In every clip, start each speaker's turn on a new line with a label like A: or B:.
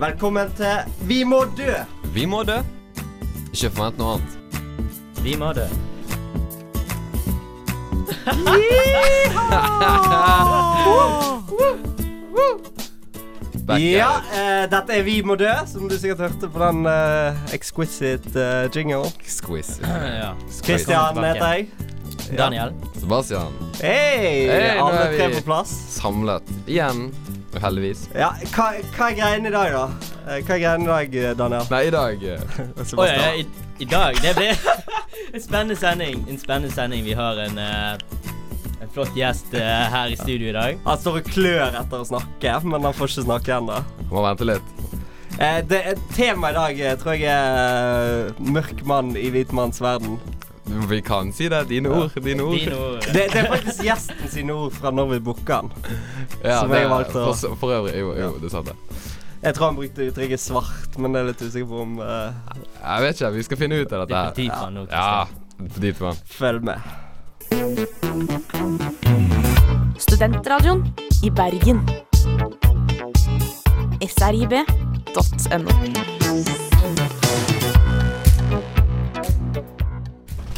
A: Velkommen til Vi må dø!
B: Vi må dø. Ikke forvent noe annet.
C: Vi må dø.
B: Back
A: ja,
B: at
A: eh, dette er Vi må dø, som du sikkert hørte på den eh, exquisite eh, jingle.
B: it. Squeeze.
C: Ja.
A: Christian
C: Velkommen
A: heter
C: tilbake.
A: jeg. Ja.
C: Daniel.
B: Sebastian,
A: Hei!
B: Hei, nå
A: Alle
B: er
A: tre
B: vi-
A: på plass.
B: samlet igjen. Uheldigvis.
A: Ja, hva, hva er greien i dag, da? Eh, Hva er greien i dag, eh, Daniel?
B: Nei, i dag eh,
C: Oi, ja, i, i dag. Det blir en spennende sending. En spennende sending. Vi har en, eh, en flott gjest eh, her i studio i dag.
A: Han står og klør etter å snakke, men han får ikke snakke ennå.
B: må vente litt.
A: Eh, det- Temaet i dag eh, tror jeg er eh, mørk mann i hvit manns verden.
B: Vi kan si det. Dine ord. Dine ord.
C: Dine ord.
A: Det, det er faktisk gjesten sine ord fra når vi booka han.
B: Ja,
A: Som
B: det-
A: jeg valgte å-
B: For, for øvrig, jo, jo, det er sant, det.
A: Jeg tror han brukte uttrykket svart, men jeg er litt usikker på om eh,
B: Jeg vet ikke. Vi skal finne ut av
C: Det er for
B: dette her.
C: dypt nå.
B: Ja, dit var han.
A: Følg med.
D: Studentradioen i Bergen. srib.no.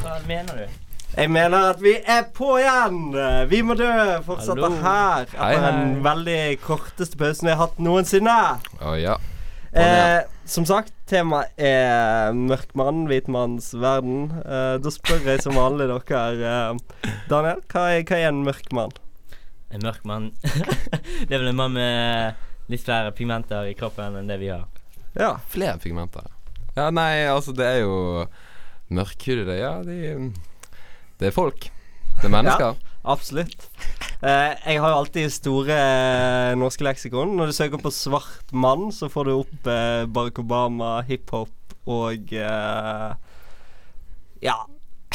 C: Hva mener du?
A: Jeg mener at vi er på igjen! Eh, Vi må dø fortsetter
C: Hallo.
A: her
B: Hei,
A: etter
B: hei.
A: den veldig korteste pausen jeg har hatt noensinne.
B: Å ja.
A: Eh, som sagt, temaet er mørk mann, hvit manns verden. Eh, da spør jeg som vanlig dere, eh, Daniel, hva er, hva er en mørk mann?
C: En mørk mann. det er vel en mann med litt flere pigmenter i kroppen enn det vi har.
A: Ja.
B: Flere pigmenter. Ja, nei, altså, det er jo mørkhudede. Ja, de Det er folk. Det er mennesker.
A: Absolutt. Eh, jeg har jo alltid store eh, norske leksikon. Når du søker på svart mann, så får du opp eh, Barack Obama, hiphop og eh, Ja,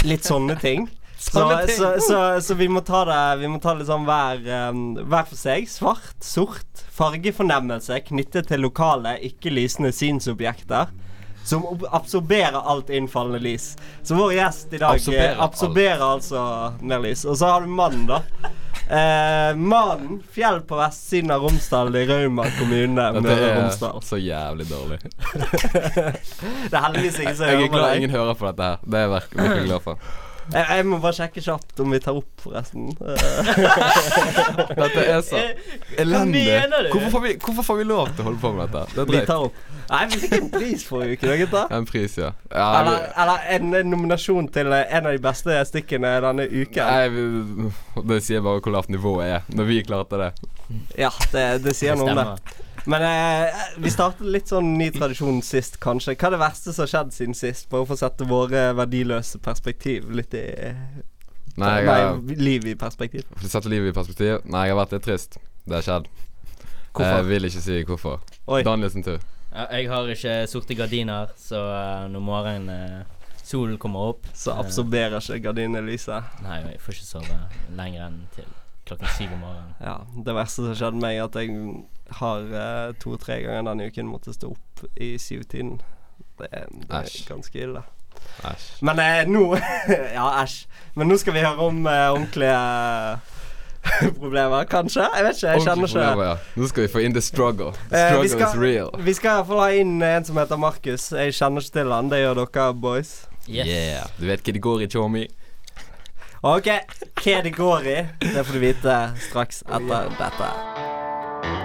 A: litt sånne ting. Så,
B: Sånne ting.
A: så, så, så vi må ta det Vi må ta det sånn hver, eh, hver for seg. Svart, sort, fargefornemmelse knyttet til lokale, ikke-lysende synsobjekter. Som ob- absorberer alt innfallende lys. Så vår gjest i dag eh,
B: Absorberer alt.
A: absorberer altså mer lys. Og så har du mannen, da. Eh, mannen. Fjell på vestsiden av Romsdal i Rauma kommune.
B: Dette
A: Møre og
B: er
A: Romsdal.
B: så jævlig dårlig.
A: Det er heldigvis ikke så
B: Jeg
A: jeg hører
B: er
A: på
B: glad
A: deg.
B: ingen hører på dette her. Det er jeg virk- virkelig glad for.
A: Jeg, jeg må bare sjekke kjapt om vi tar opp, forresten. Eh,
B: Dette er så elendig.
C: mener du?
B: Hvorfor får vi, hvorfor får vi lov til å holde på med dette? Det er
A: vi
B: drøyt.
A: tar opp. Nei, vi fikk en pris forrige uke, da, gutta.
B: En pris, ja. ja vi,
A: Eller, eller en, en nominasjon til eh, en av de beste stykkene denne uken.
B: nei, vi, det sier bare hvor lavt nivået er, når vi klarte det.
A: Ja, det, det sier noe om det. Men eh, vi startet litt sånn ny tradisjon sist, kanskje. Hva er det verste som har skjedd siden sist? Bare for å sette våre verdiløse perspektiv litt i
B: Nei, jeg har
A: Nei, liv i perspektiv.
B: for å sette livet i perspektiv. Nei, jeg har vært litt trist. Det har skjedd. Jeg
A: Hvorfor?
B: vil ikke si hvorfor.
A: Oi.
B: Daniel sin tur.
C: Ja, Jeg har ikke sorte gardiner, så eh, når morgenen eh, solen kommer opp
A: Så absorberer ikke gardinene lyset.
C: Nei, jeg får ikke sove lenger enn til klokken syv om morgenen.
A: Ja, det verste som skjedde meg, er at jeg har eh, to-tre ganger denne uken måtte stå opp i syvtiden. Det, er- det er
B: Æsj.
A: ganske ille.
B: Æsj.
A: Men eh, nå Ja, æsj. Men nå skal vi høre om eh, ordentlige problemer, kanskje? Jeg vet ikke. Jeg kjenner
B: Ordentlig
A: ikke
B: problemer, ja. Nå skal vi få inn the struggle.
A: Eh, vi
B: The struggle is
A: skal,
B: real.
A: vi skal i hvert fall ha inn en som heter Markus. Jeg kjenner ikke til han, det gjør dere boys.
B: Yeah. Du vet hva det går i, Tjommi.
A: OK, hva det går i, det får du vite straks etter dette.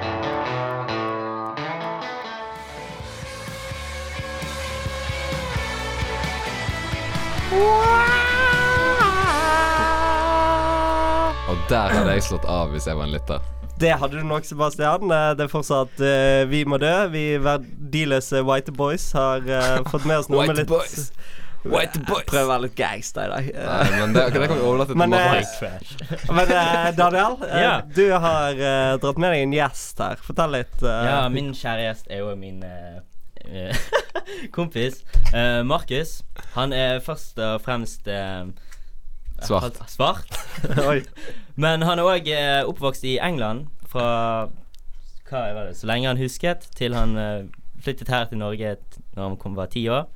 B: Og der hadde jeg slått av hvis jeg var en lytter.
A: Det hadde du nok, Sebastian. Eh, Det er fortsatt eh, Vi må dø. Vi verdiløse white boys har eh, fått med oss noe med
B: White
A: litt
B: boys. White boys.
A: Prøv å være litt gangster i dag. Eh,
B: Nei, men det, det kan vi overlate til
A: Men, eh,
B: Markus.
C: White trash.
A: Men eh, Daniel, eh,
C: Ja.
A: du har eh, dratt med deg en gjest her. Fortell litt. eh,
C: Ja, min kjære gjest er jo min eh, eh, kompis. Eh, Markus. Han er først og fremst eh,
B: Svart.
C: han- svart.
A: Oi.
C: Men han er òg eh, oppvokst i England fra hva var det, så lenge han husket, til han eh, flyttet her til Norge t- når han kom, var ti år.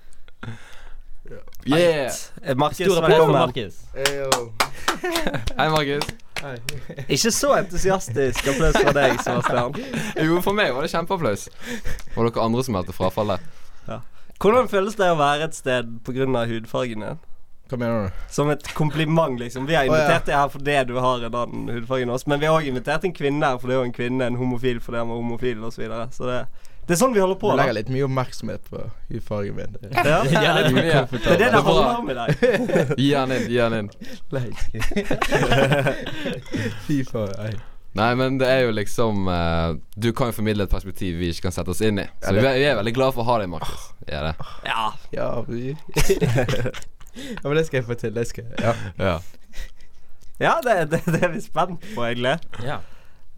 B: Yeah!
A: Eh, Markus,
C: Stor applaus for
A: velkommen.
C: Markus.
B: Hei, Markus.
A: Ikke så entusiastisk applaus fra deg, Sebastian.
B: Jo, for meg var det kjempeapplaus. Og dere andre som meldte frafallet.
A: Hvordan føles det å være et sted pga. hudfargen din?
E: Hva mener du?
A: Som et kompliment, liksom. Vi har
E: Å, ja.
A: invitert deg her fordi du har en annen hudfarge enn oss, men vi har òg invitert en kvinne her fordi hun er en kvinne, en homofil fordi han var homofil, osv. Så videre. så det, det er sånn vi holder
E: Du
A: på. da
E: legger litt mye oppmerksomhet på hudfargen min. Det er
A: Ja. Det er det
B: Ja,
A: det er det
B: er
A: det
B: bra.
A: handler om i dag.
B: Gi han inn, gi han inn.
E: Fy faen. nei.
B: Nei, men det er jo liksom eh, Du kan jo formidle et perspektiv vi ikke kan sette oss inn i. Så vi,
E: det-
B: er- vi er veldig glad for å ha deg, Markus. Vi er det.
A: Ja.
E: Ja, vi- ja, men det skal jeg få til. Det skal jeg. Ja.
B: Ja.
A: Ja, det, det, det er vi spent på, egentlig.
C: Ja.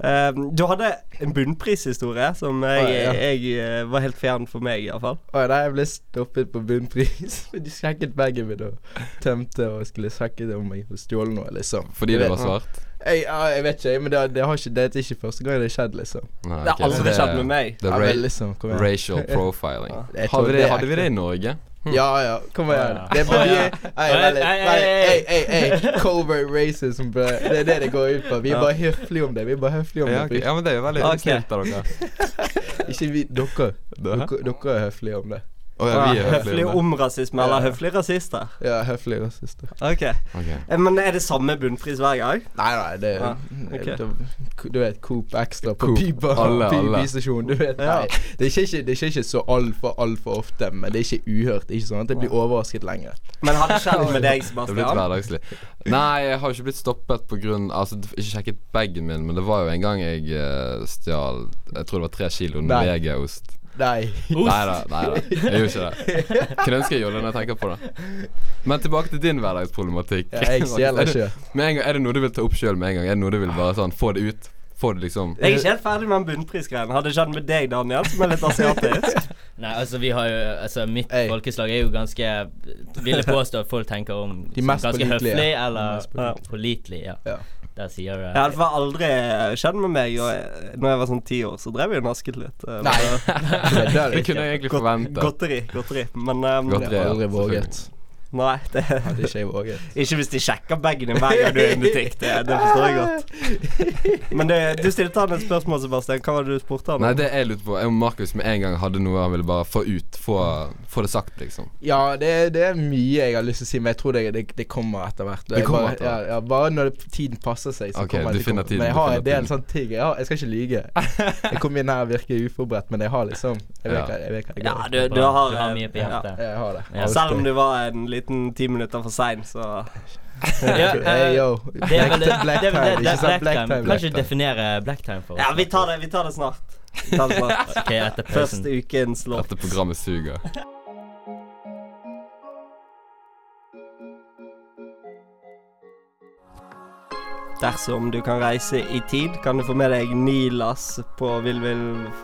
A: Ehm, du hadde en bunnprishistorie som jeg,
E: Å, ja.
A: jeg eh, var helt fjern for meg, iallfall.
E: Å, nei, jeg ble stoppet på bunnpris. For de sjekket bagen min og tømte og skulle sjekke om jeg hadde stjålet noe, liksom.
B: Fordi
E: Du
B: det
E: vet.
B: var svart?
E: Jeg, ja, jeg vet ikke, jeg, men det, det, har ikke, det er ikke første gang det har skjedd, liksom.
A: Det
B: Nei, ok,
A: har aldri
B: det-
A: skjedd med meg.
B: Det er
E: Ja, men
B: ra
E: liksom, kom igjen.
B: racial profiling.
A: Ja.
E: Jeg tror
B: Hadde,
E: det
B: det,
E: er
B: hadde vi
E: ekte.
B: det i Norge?
E: Ja, ja, kom igjen. Det er bare vi Ei,
C: Oi,
E: veldig,
C: ei, ei,
E: veldig,
C: ei.
E: ei, ei, ei. Covert racism, bro. Det er det det går ut på. Vi er
A: Ja.
E: bare høflige om det. Vi er bare høflige om
B: Ja,
E: det.
B: ok.
E: bro.
B: ja, men det er jo veldig
A: Ok.
B: snilt av dere.
E: Ikke vi, dere.
B: Dere?
E: Dere, dere er høflige om det.
B: Å ja, vi er
A: høflig
B: høflige.
A: om rasisme, eller
E: Ja.
A: høflig rasister.
E: Ja, høflige rasister.
A: Ok
B: Okay.
A: Eh, Men er det samme bunnpris hver gang?
E: Nei, nei, det
A: Ja, ok.
E: du, du vet Coop Extra på
B: Coop.
E: Pipa.
B: Alle, alle.
E: Bystasjonen. Du vet,
A: Ja.
E: nei. Det er ikke- ikke, det er ikke så altfor, altfor ofte, men det er ikke uhørt. Det er ikke sånn at jeg blir overrasket lenger.
A: Men har det skjedd med deg,
B: Det er blitt
A: Sebastian?
B: hverdagslig. Nei, jeg har ikke blitt stoppet på grunn Altså, d- ikke sjekket bagen min, men det var jo en gang jeg eh, stjal Jeg tror det var tre kilo
E: Nei.
B: Norvegia-ost.
E: Nei.
B: Nei da, nei da. Jeg gjorde ikke det. Kunne ønske jeg gjorde det når jeg tenker på det. Men tilbake til din hverdagsproblematikk.
E: Ja, jeg stjeler
B: Er det-
E: ikke.
B: Med en gang, er det noe du vil ta opp sjøl med en gang? Er det noe du vil bare sånn få det ut? Få det liksom
A: Jeg er ikke helt ferdig med den bunnprisgreien. Har det skjedd med deg, Daniel, som er litt asiatisk?
C: Nei, altså vi har jo Altså mitt
E: Ei.
C: folkeslag er jo ganske Ville påstå at folk tenker om
E: De
C: som
E: mest
C: ganske
E: pålitelige.
C: høflig
E: De
C: eller
E: mest
C: ja,
E: pålitelige.
C: pålitelig. Ja.
E: Ja.
C: Der sier eh,
A: Ja,
C: jeg
A: det var aldri skjedd med meg. Og jeg- når jeg var sånn ti år, så drev jeg og nasket litt. eh,
E: Nei. Det dør
B: Det
E: ikke.
B: kunne jeg egentlig
A: Godt,
B: forvente.
A: godteri. Godteri. Men ehm,
B: Godt-
E: Det har aldri våget.
A: nei, det,
E: Hadde ikke jeg våget.
A: ikke hvis de sjekker bagen din hver gang du er i en butikk. Det, det forstår jeg godt. Men det, du stilte han et spørsmål, Sebastian. Hva var det du spurte han
B: Nei,
A: om?
B: det jeg lurte på, er om Markus med en gang hadde noe han ville bare få ut. Få, få det sagt, liksom.
E: Ja, det, det er mye jeg har lyst til å si, men jeg tror det, det, det kommer etter hvert. Og
B: Det
E: jeg
B: kommer
E: bare,
B: etter hvert.
E: Ja, ja, bare når det, tiden passer seg. Så
B: Ok,
E: kommer det
B: du finner
E: til å
B: tiden,
E: komme. Men jeg
B: du finner
E: har en del
B: tiden.
E: sånne ting. Jeg, har, jeg skal ikke lyge. Jeg kom inn her og virker uforberedt, men jeg har liksom
B: Ja.
E: Jeg vet hva jeg, vet hva jeg
A: Ja,
E: går i.
A: du, du har, eh,
C: Du har mye på hjertet.
E: Jeg har det.
C: Ja.
A: Selv om du var en liten ti minutter for sein, så
C: Ja,
E: Hey,
C: eh,
E: yo.
C: Det er vel det,
E: Black, black
C: det, er vel
E: time,
C: det, det
E: ikke
C: er
E: sant?
C: black
E: Black
C: time.
E: time.
C: Kan ikke definere black time for oss?
A: Ja, vi tar det, vi tar det snart. Vi tar det snart.
C: Ok, etter pausen.
A: Første ukens låt.
B: Dette programmet suger.
A: Dersom du kan reise i tid, kan du få med deg Nilas på Vill Vill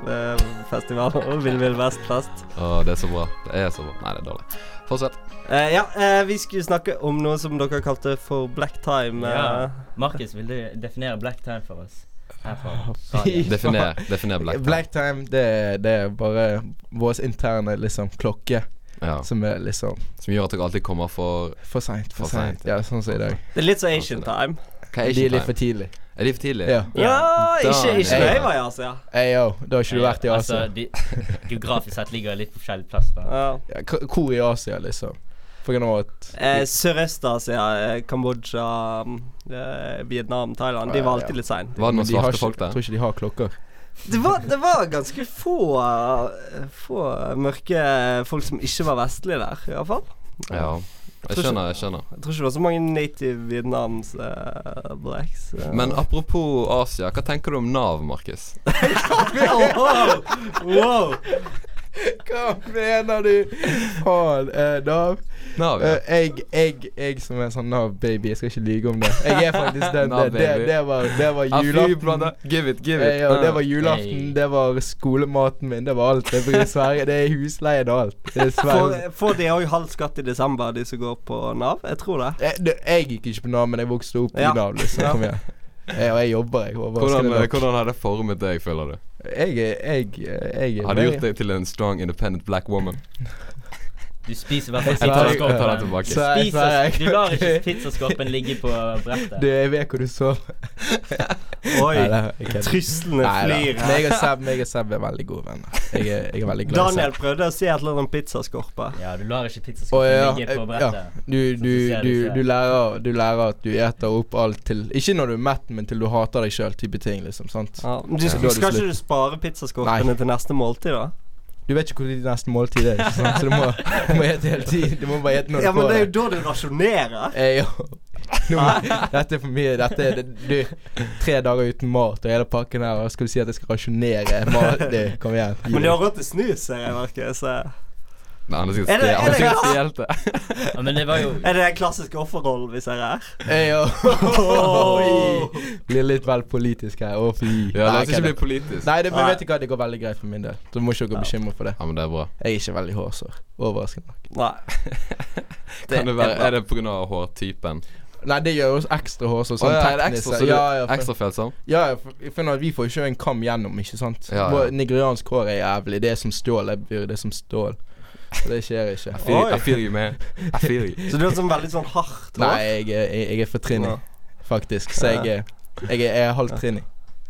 A: eh, festival og Vill Vill Vest-fest.
B: Å, det er så bra. Det er så bra. Nei, det er dårlig. Fortsett.
A: Eh, ja, eh, vi skulle snakke om noe som dere kalte for black time. eh.
C: Ja. Markus, vil du definere black time for oss? Her fra
E: Fy
C: radioen.
B: Definer, definer black. tie.
E: Black time, det, er- det er bare vår interne liksom klokke
B: Ja.
E: som er liksom
B: Som gjør at dere alltid kommer for
E: for seint, for
B: For sent,
E: seint. Ja, sånn som i dag.
A: Det er litt så Asian time.
B: Hva
E: De er litt for tidlig.
B: Er de for tidlig?
E: Ja.
A: Ja, ikke, ikke når
B: Daniel.
A: jeg var i Asia.
E: Hey, yo, da har ikke du vært i
C: Altså,
E: Asia.
C: de, geografisk sett ligger jeg litt på forskjellig plass. da
A: Ja.
E: Ja, k- hvor i Asia, liksom? For grunn av at
A: Eh, Sørøst-Asia, eh, Kambodsja, eh, Vietnam, Thailand. De var alltid litt sein.
B: Var det
E: Men
B: noen
E: de har
B: svarte
E: ikke-
B: folk
E: Jeg
B: der?
E: tror ikke de har klokker.
A: Det var, det var ganske få, eh, få mørke folk som ikke var vestlige der, iallfall.
B: Ja. Jeg skjønner, jeg skjønner.
A: Jeg tror ikke det var så mange native Vietnams eh, blacks. eh.
B: Men apropos Asia, hva tenker du om Nav, Markus?
A: wow, wow.
E: Hva mener du? Faen, eh, Nav.
B: Nav, ja.
E: Eh, jeg, jeg, jeg som er sånn Nav-baby, jeg skal ikke lyge om det. Jeg er faktisk den. det, det,
B: Nav-baby.
E: det var, det var
B: Ah, fy, Ah,
E: julaften.
B: brother. Give it, give
E: Eh,
B: it.
E: ja, det var
C: Hey.
E: julaften, det var skolematen min, det var alt. Det er, Sverige, det er husleien og alt. Det er Sverige.
A: Får- Får de òg halv skatt i desember, de som går på Nav? Jeg tror det.
E: Eh, du, jeg gikk ikke på Nav, men jeg vokste opp
A: Ja.
E: i Nav. Liksom.
A: Ja.
E: Kom igjen. Eh, og jeg jobber, jeg.
B: Hvordan, eh,
E: overraskende nok.
B: hvordan har det formet deg, føler du?
E: Jeg, er- jeg, jeg, jeg
B: Har det gjort deg til en strong, independent black woman?
C: Du spiser i hvert fall
B: Jeg tar, jeg
E: Jeg
B: tar den
C: pizzaskorpen.
B: tilbake.
E: Så- Nei, nei,
C: Spiser, du lar ikke
E: ok.
C: pizzaskorpen ligge på
A: eh,
C: brettet.
E: Du, jeg vet hvor du sover.
A: Oi,
E: Nei, da, jeg kødder.
A: truslene
E: Nei da.
A: flyr her.
E: Meg og Seb, meg og Seb er veldig gode venner. Jeg er, jeg er veldig glad i
A: Daniel
E: Seb.
A: prøvde å si et eller annet om pizzaskorpe.
C: Ja, du lar ikke
E: Å,
C: pizzaskorpen
E: ja,
C: ligge på
E: eh,
C: brettet.
E: Du, du,
C: Så ser
E: du,
C: du ikke.
E: du, lærer, du lærer at du eter opp alt til Ikke når du er mett, men til du hater deg sjøl, type ting, liksom. sant?
A: Ja, men du,
E: Ja. Da
A: skal
E: er det
A: skal
E: slutt.
A: ikke du spare pizzaskorpene til neste måltid, da?
E: Du vet ikke hvor de neste måltid er, ikke sant? så du må, du må ete hele tiden. Du må bare ete når du
A: Ja, men
E: får
A: det
E: det.
A: er jo da du rasjonerer.
E: Eh, jo. Nå, må- dette er for mye. Dette er det, du, tre dager uten mat og hele pakken her, og skal du si at jeg skal rasjonere mat? Du, kom igjen.
A: Men du har råd til snus, ser jeg, Markus. så-
B: Nei, han er
A: Er
B: sikkert
A: det-
B: stjel-
A: er
B: han er
A: det-
B: sikkert stjålet det.
C: Ja, men det var jo
A: Er det den klassiske offerrollen vi ser her?
E: Eh, jo.
A: Oi.
E: Blir litt vel politisk her. Å, fy.
B: Ja, la oss
E: Nei,
B: ikke bli
E: kødder.
B: politisk.
E: Nei, det, men
A: Nei.
E: vet du hva, det går veldig greit for min del. Så du må ikke gå bekymret for det.
B: Ja, men det er bra.
E: Jeg er ikke veldig hårsår. Overraskende.
A: Nei.
B: Kan det være,
A: bra.
B: er det pga. hårtypen?
E: Nei, det gjør oss ekstra hårsår. Sånn
B: Å, ja, er det
E: teknisk
B: ekstra, så
E: sett.
B: du,
E: ja, ja, for-
B: ekstra fet sånn?
E: Ja, ja, for, for når vi får jo ikke en kam gjennom, ikke sant?
B: Ja, ja.
E: Vår Nigeriansk hår er jævlig. Det er som stål. Jeg blir det er som stål. Så det skjer ikke.
B: Feel-
A: Oi.
B: I feel you, man. I feel you.
A: Så du har sånn veldig sånn hardt
E: Nei,
A: hår?
E: jeg, er- jeg, jeg er for trinny,
A: Ja.
E: faktisk. Så jeg er, jeg er, jeg er halvt trinny.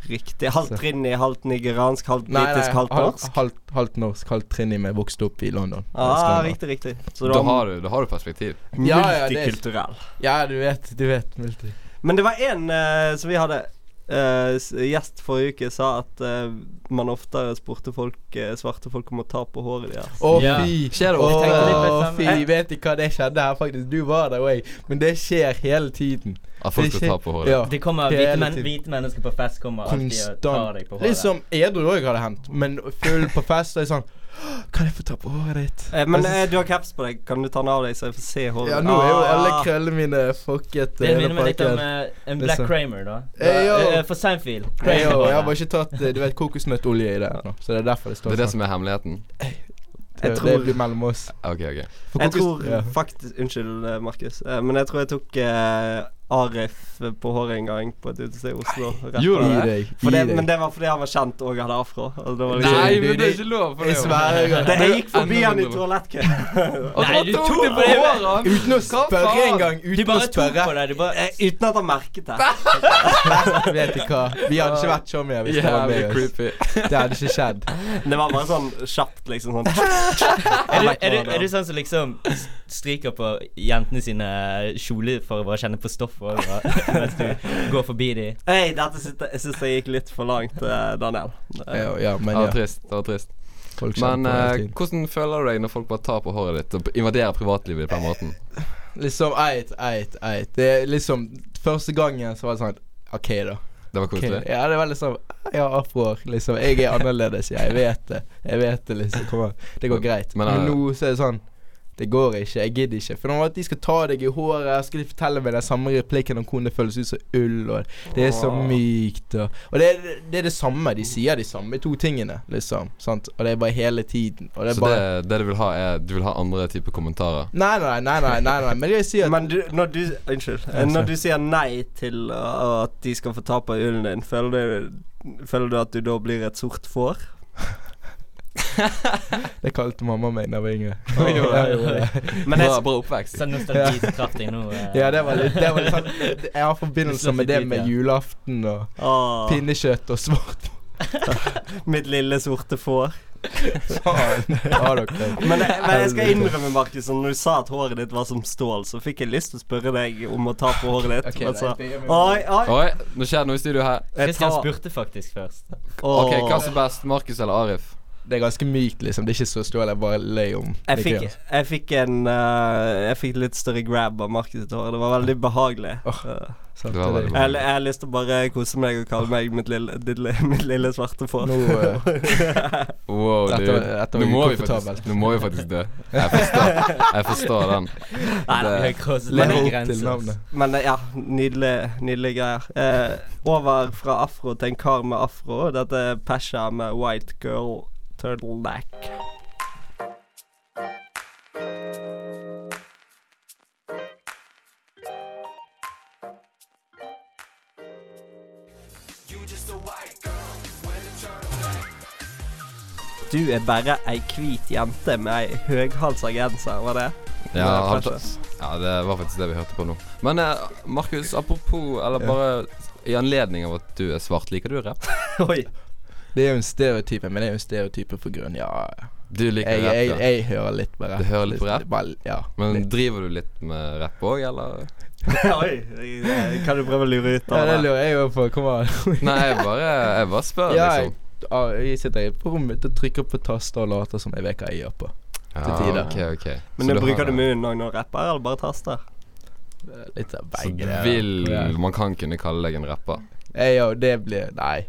A: Riktig. Halvt rinni, halvt nigeransk, halvt
E: Nei, nei,
A: britisk, halvt
E: hal-
A: norsk?
E: Halvt, halvt norsk, halvt trinny, men jeg vokste opp i London.
A: Ja, ah,
E: Skandinav.
A: riktig, riktig. Så du
B: Da
A: har
B: har du, da har du perspektiv.
E: Ja, ja, det er-
A: multikulturell.
E: Ja, du vet. Du vet. Multi.
A: Men det var en eh, som vi hadde eh, s- gjest forrige uke, sa at eh, man oftere spurte folk, eh, svarte folk om å ta på håret deres.
E: Å,
C: Ja.
E: fy!
B: Skjer det
E: Å,
B: ofte?
C: Jeg tenkte litt på det samme.
E: fy! Vet du hva det skjedde her, faktisk? Du var der, og jeg. Men det skjer hele tiden.
B: At folk skal
E: Det
B: ta
E: skjer-
B: på håret.
E: Ja.
C: Det kommer
E: Hele
C: hvite, men,
E: tiden.
C: hvite mennesker på fest kommer alltid og tar deg på håret.
E: Konstant. Liksom edru òg hadde hendt, men full på fest, så er jeg sånn Kan jeg få ta på håret ditt?
A: Eh, men eh, du har caps på deg. Kan du ta den av deg, så jeg får se håret?
E: Ja, nå er jo
A: Ah,
E: alle
A: ja.
E: krøllene mine fucket.
C: det
E: hele
C: minner meg litt om
E: pakken.
C: eh, en Black
E: Liksom.
C: Kramer, da.
E: Eh,
C: da
E: jo.
C: eh, for Seinfeld.
E: Nei, jo, jeg har
C: Kramer.
E: bare ikke tatt eh, du vet, kokosnøttolje i det, nå, så det er derfor det
B: Det
E: står sånn.
B: er det som er hemmeligheten.
E: Det,
A: Jeg
E: det
A: tror-
E: blir mellom oss.
B: Ok, ok.
E: For
A: Jeg
E: kokos-
A: tror
E: ja.
A: faktisk Unnskyld, eh, Markus. Eh, Men jeg tror jeg tok eh, Arif på håret en gang på et utested i Oslo. rett
B: gjorde
A: på det.
E: Gi deg.
A: For
E: Gi
A: det,
E: deg.
A: men det var fordi han var kjent og hadde afro. Altså, det var liksom,
B: Nei,
E: du-
B: men det er
E: du-
B: ikke lov for det.
E: Jeg sverger.
A: det, jeg gikk forbi han i toalettkøen.
B: Og
C: Nei,
B: så
C: du
B: tok
C: tok
B: du på
C: det.
B: håret!
E: Uten å spørre
B: faen?
E: engang.
C: Du
E: Uten å
C: bare tok
E: spørre.
C: på deg. Du bare
A: Eh, Uten at han merket det.
E: Vet du hva. Vi hadde ikke vært sånn med hvis det
B: Jævlig
E: var med oss.
B: creepy.
E: Det hadde ikke skjedd.
A: Det var bare sånn kjapt, liksom. Sånn.
C: er, du, er, du, er du sånn som liksom s- stryker på jentene sine eh, kjoler for å bare kjenne på stoffet og- mens du går forbi dem?
A: Hei, dette syns jeg synes jeg gikk litt for langt, eh, Daniel. Eh,
E: Ja, ja, men
B: Det var
E: ja.
B: trist. det var trist
E: Folk kjenner
B: Men
E: på det hele
B: eh,
E: tiden.
B: hvordan føler du deg når folk bare tar på håret ditt og invaderer privatlivet ditt på den måten?
E: Liksom eit, eit, eit. Det er liksom Første gangen så var det sånn OK, da.
B: Det var
E: Ok,
B: koselig.
E: Ja, det var liksom Jeg har afroer, liksom. Jeg er annerledes, jeg vet det. Jeg vet det, liksom. Kom an. Det går greit.
B: Men,
E: Men,
B: eh,
E: nå så er det sånn Det går ikke. Jeg gidder ikke. For når at de skal ta deg i håret, skal de fortelle meg den samme replikken om hvordan det føles ut som ull, og
A: Eh,
E: det er så mykt, og Og det er det, er det samme. De sier de samme to tingene, liksom. Sant? Og det er bare hele tiden. Og det er
B: Så
E: bare
B: det, det du vil ha, er Du vil ha andre typer kommentarer?
E: Nei, nei, nei, nei, nei, nei. Men jeg sier at
A: Men du, når du Unnskyld. Eh, Når du sier nei til uh, at de skal få ta på ullen din, føler du, føler du at du da blir et sort får?
E: Det kalte mamma meg da jeg var yngre.
C: Oi, oi, oi.
E: Ja, ja, ja.
A: Men
B: bra,
A: jeg,
B: bra oppvekst.
C: Sånn nostalgikrafting nå. eh.
E: Ja, det var litt, det var litt sånn Jeg har forbindelser med det med julaften og
A: Åh,
E: pinnekjøtt og svart
A: Ah, mitt lille sorte får.
E: faen. Ja, dere.
A: Men, jeg- men jeg skal innrømme, Markus, når du sa at håret ditt var som stål, så fikk jeg lyst til å spørre deg om å ta på håret ditt.
E: Ok,
A: men så-
E: nei, jeg begynner med-
A: oi, oi.
B: Oi, nå skjer det noe i studio her.
A: Jeg
C: Christian
A: tar-
C: spurte faktisk først.
B: Ok,
A: Åh.
B: Hva som er best, Markus eller Arif?
E: Det er ganske mykt, liksom. Det er ikke så stål jeg bare løy om.
A: Jeg
E: Det er
A: fikk,
E: gøy, altså.
A: jeg fikk en eh, Jeg fikk litt større grab av Markus sitt hår. Det var veldig behagelig. Eh,
E: Sant,
B: Det var
E: det er
B: veldig
E: det.
B: bra.
A: Jeg, jeg har lyst til å bare kose meg og kalle meg mitt lille, ditt, li- mitt lille svarte får.
E: Nå eh,
B: Wow,
E: Dette
B: dude.
E: var- dette
B: nå,
E: var
B: må vi
E: ukomfortabelt.
B: faktisk, nå må vi faktisk dø. Jeg forstår, jeg forstår den.
A: Nei,
B: Det-
C: Jeg krosset
E: lever
C: alle
E: opp til
C: grenser. altså.
E: navnet.
A: Men eh, ja, nydelige, nydelige greier. Eh, over fra afro til en kar med afro. Dette er Pesha med White Girl Turtleneck. Du er bare ei hvit jente med ei høghalsa genser, var det?
B: Ja,
A: Det er
B: han,
A: precious.
B: ja, det var faktisk det vi hørte på nå. Men eh, Markus, apropos Eller bare i anledning av at du er svart, liker du rap?
A: Oi.
E: Det er jo en stereotype, men det er jo en stereotype for grunn. Ja,
B: Du liker
E: jeg,
B: rap,
E: jeg,
B: ja.
E: jeg hører litt på rap.
B: Du hører litt på rap?
E: Bare, ja.
B: Men
E: litt.
B: driver du litt med rapp òg, eller?
A: Oi. eh, Kan du prøve å lure ut
E: ja,
A: av
E: det
A: det?
E: lurer jeg jo på. Kom an.
B: Nei, jeg bare, jeg bare spør,
E: Ja, jeg,
B: liksom.
E: ja, jeg sitter på rommet mitt og trykker på taster og later som jeg vet hva jeg gjør på. til tider.
B: ok, ok.
A: Men
B: Så
A: du
B: har-
A: bruker du munnen òg når du rapper, eller bare taster?
E: Litt av
B: Så
E: begge
B: du
E: deler.
B: vil
E: Ja.
B: Man kan kunne kalle deg en rapper.
E: Jeg, ja, det blir Nei.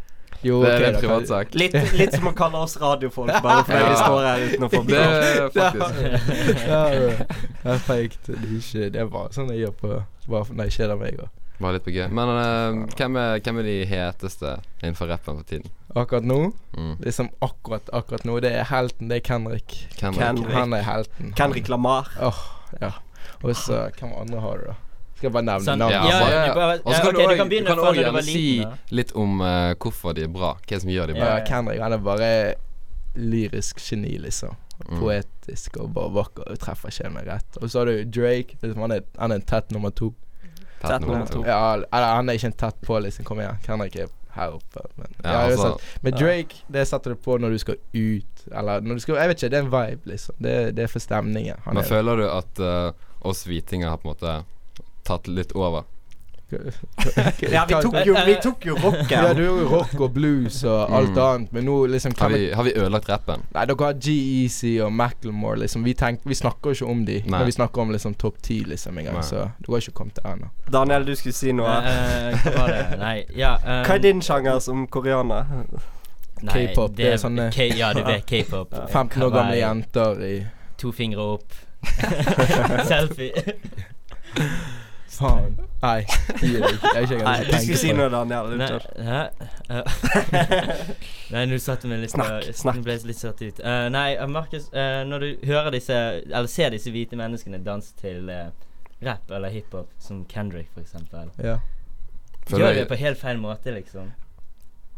E: Jo,
B: Det er
E: ok,
B: en
E: da kan-
B: privatsak.
A: Litt, litt som å kalle oss radiofolk, bare fordi
B: Ja.
A: vi står her uten å få
B: Det
A: betalt.
B: er faktisk
E: Ja, men det er feigt. Det er ikke Det er bare sånn jeg gjør på bare for- når jeg kjeder meg. Og.
B: Var litt på gøy. Men eh, hvem, er, hvem er de heteste innenfor rappen for tiden?
E: Akkurat nå,
B: Mm.
E: liksom akkurat akkurat nå, det er helten. Det er Kenrik.
A: Ken-
B: Hvem er
A: Kendrick.
E: Han er helten.
A: Kendrick Lamar.
E: Åh, ja. Og så hvem andre har du, da? Skal jeg bare nevne
C: Sånn.
E: navn?
B: ja,
C: Ja,
B: bare,
C: ja, du bare-
B: Og så
C: ja,
B: kan du
C: ok, du
B: også-
C: kan
B: du
C: begynne
B: kan
C: fra
B: òg
C: når du
B: gjerne
C: var
B: si
C: liten,
B: litt om eh, hvorfor de er bra. Hva som gjør de bra.
E: Ja, Kendrick han er bare lyrisk geni, liksom.
B: Mm.
E: Poetisk og bare vakker. Og treffer skjemaet rett. Og så har du Drake. Liksom, han, er, han er en tett nummer to.
B: Tett nummer
A: Tett
B: to.
A: nummer
E: Ja, eller han er ikke en tett på, liksom. Kom igjen. Kendrick er her oppe. Men,
B: Ja,
E: ja,
B: altså,
E: uansett. men Drake, det setter du på når du skal ut. Eller når du skal Jeg vet ikke, det er en vibe, liksom. Det, er- det er for stemningen. Han
B: men
E: er-
B: føler du at eh, oss hvitinger har på en måte tatt litt over?
A: Ja, vi tok jo,
C: øh,
A: vi tok jo
E: Ja, du
A: rocken.
E: er jo rock og blues og alt
B: Mm.
E: annet, men nå liksom
B: Har
E: kan vi
B: vi, har vi ødelagt rappen?
E: Nei, dere har GEC og Macclemore, liksom. Vi, tenk, vi snakker jo ikke om de
B: Nei.
E: når vi snakker om liksom topp ti, liksom, engang.
B: Nei.
E: Så du har ikke kommet der ennå.
A: Daniel, du skulle si noe.
C: Eh, hva var det? Nei, ja eh,
A: Hva er din sjanger som koreaner?
C: nei,
E: K-pop, det er sånn, eh,
C: K ja, du vet k-pop.
E: 15 år gamle
C: Kawaii,
E: jenter i
C: To fingre opp. Selfie.
E: Faen. Nei, gi deg. Jeg er ikke
A: Nei,
E: engang
A: du skulle si noe, Daniel.
C: Nei,
A: Unnskyld.
C: hæ? Eh, Nei, nå satte meg litt
A: Snakk,
C: nå
A: snakk.
C: ble jeg litt satt ut. Eh, nei, eh, Markus, eh, når du hører disse Eller ser disse hvite menneskene danse til eh, rap eller hiphop, som Kendrick for eksempel
E: Ja.
B: Føler
C: Gjør det
B: jeg-
C: på helt feil måte, liksom.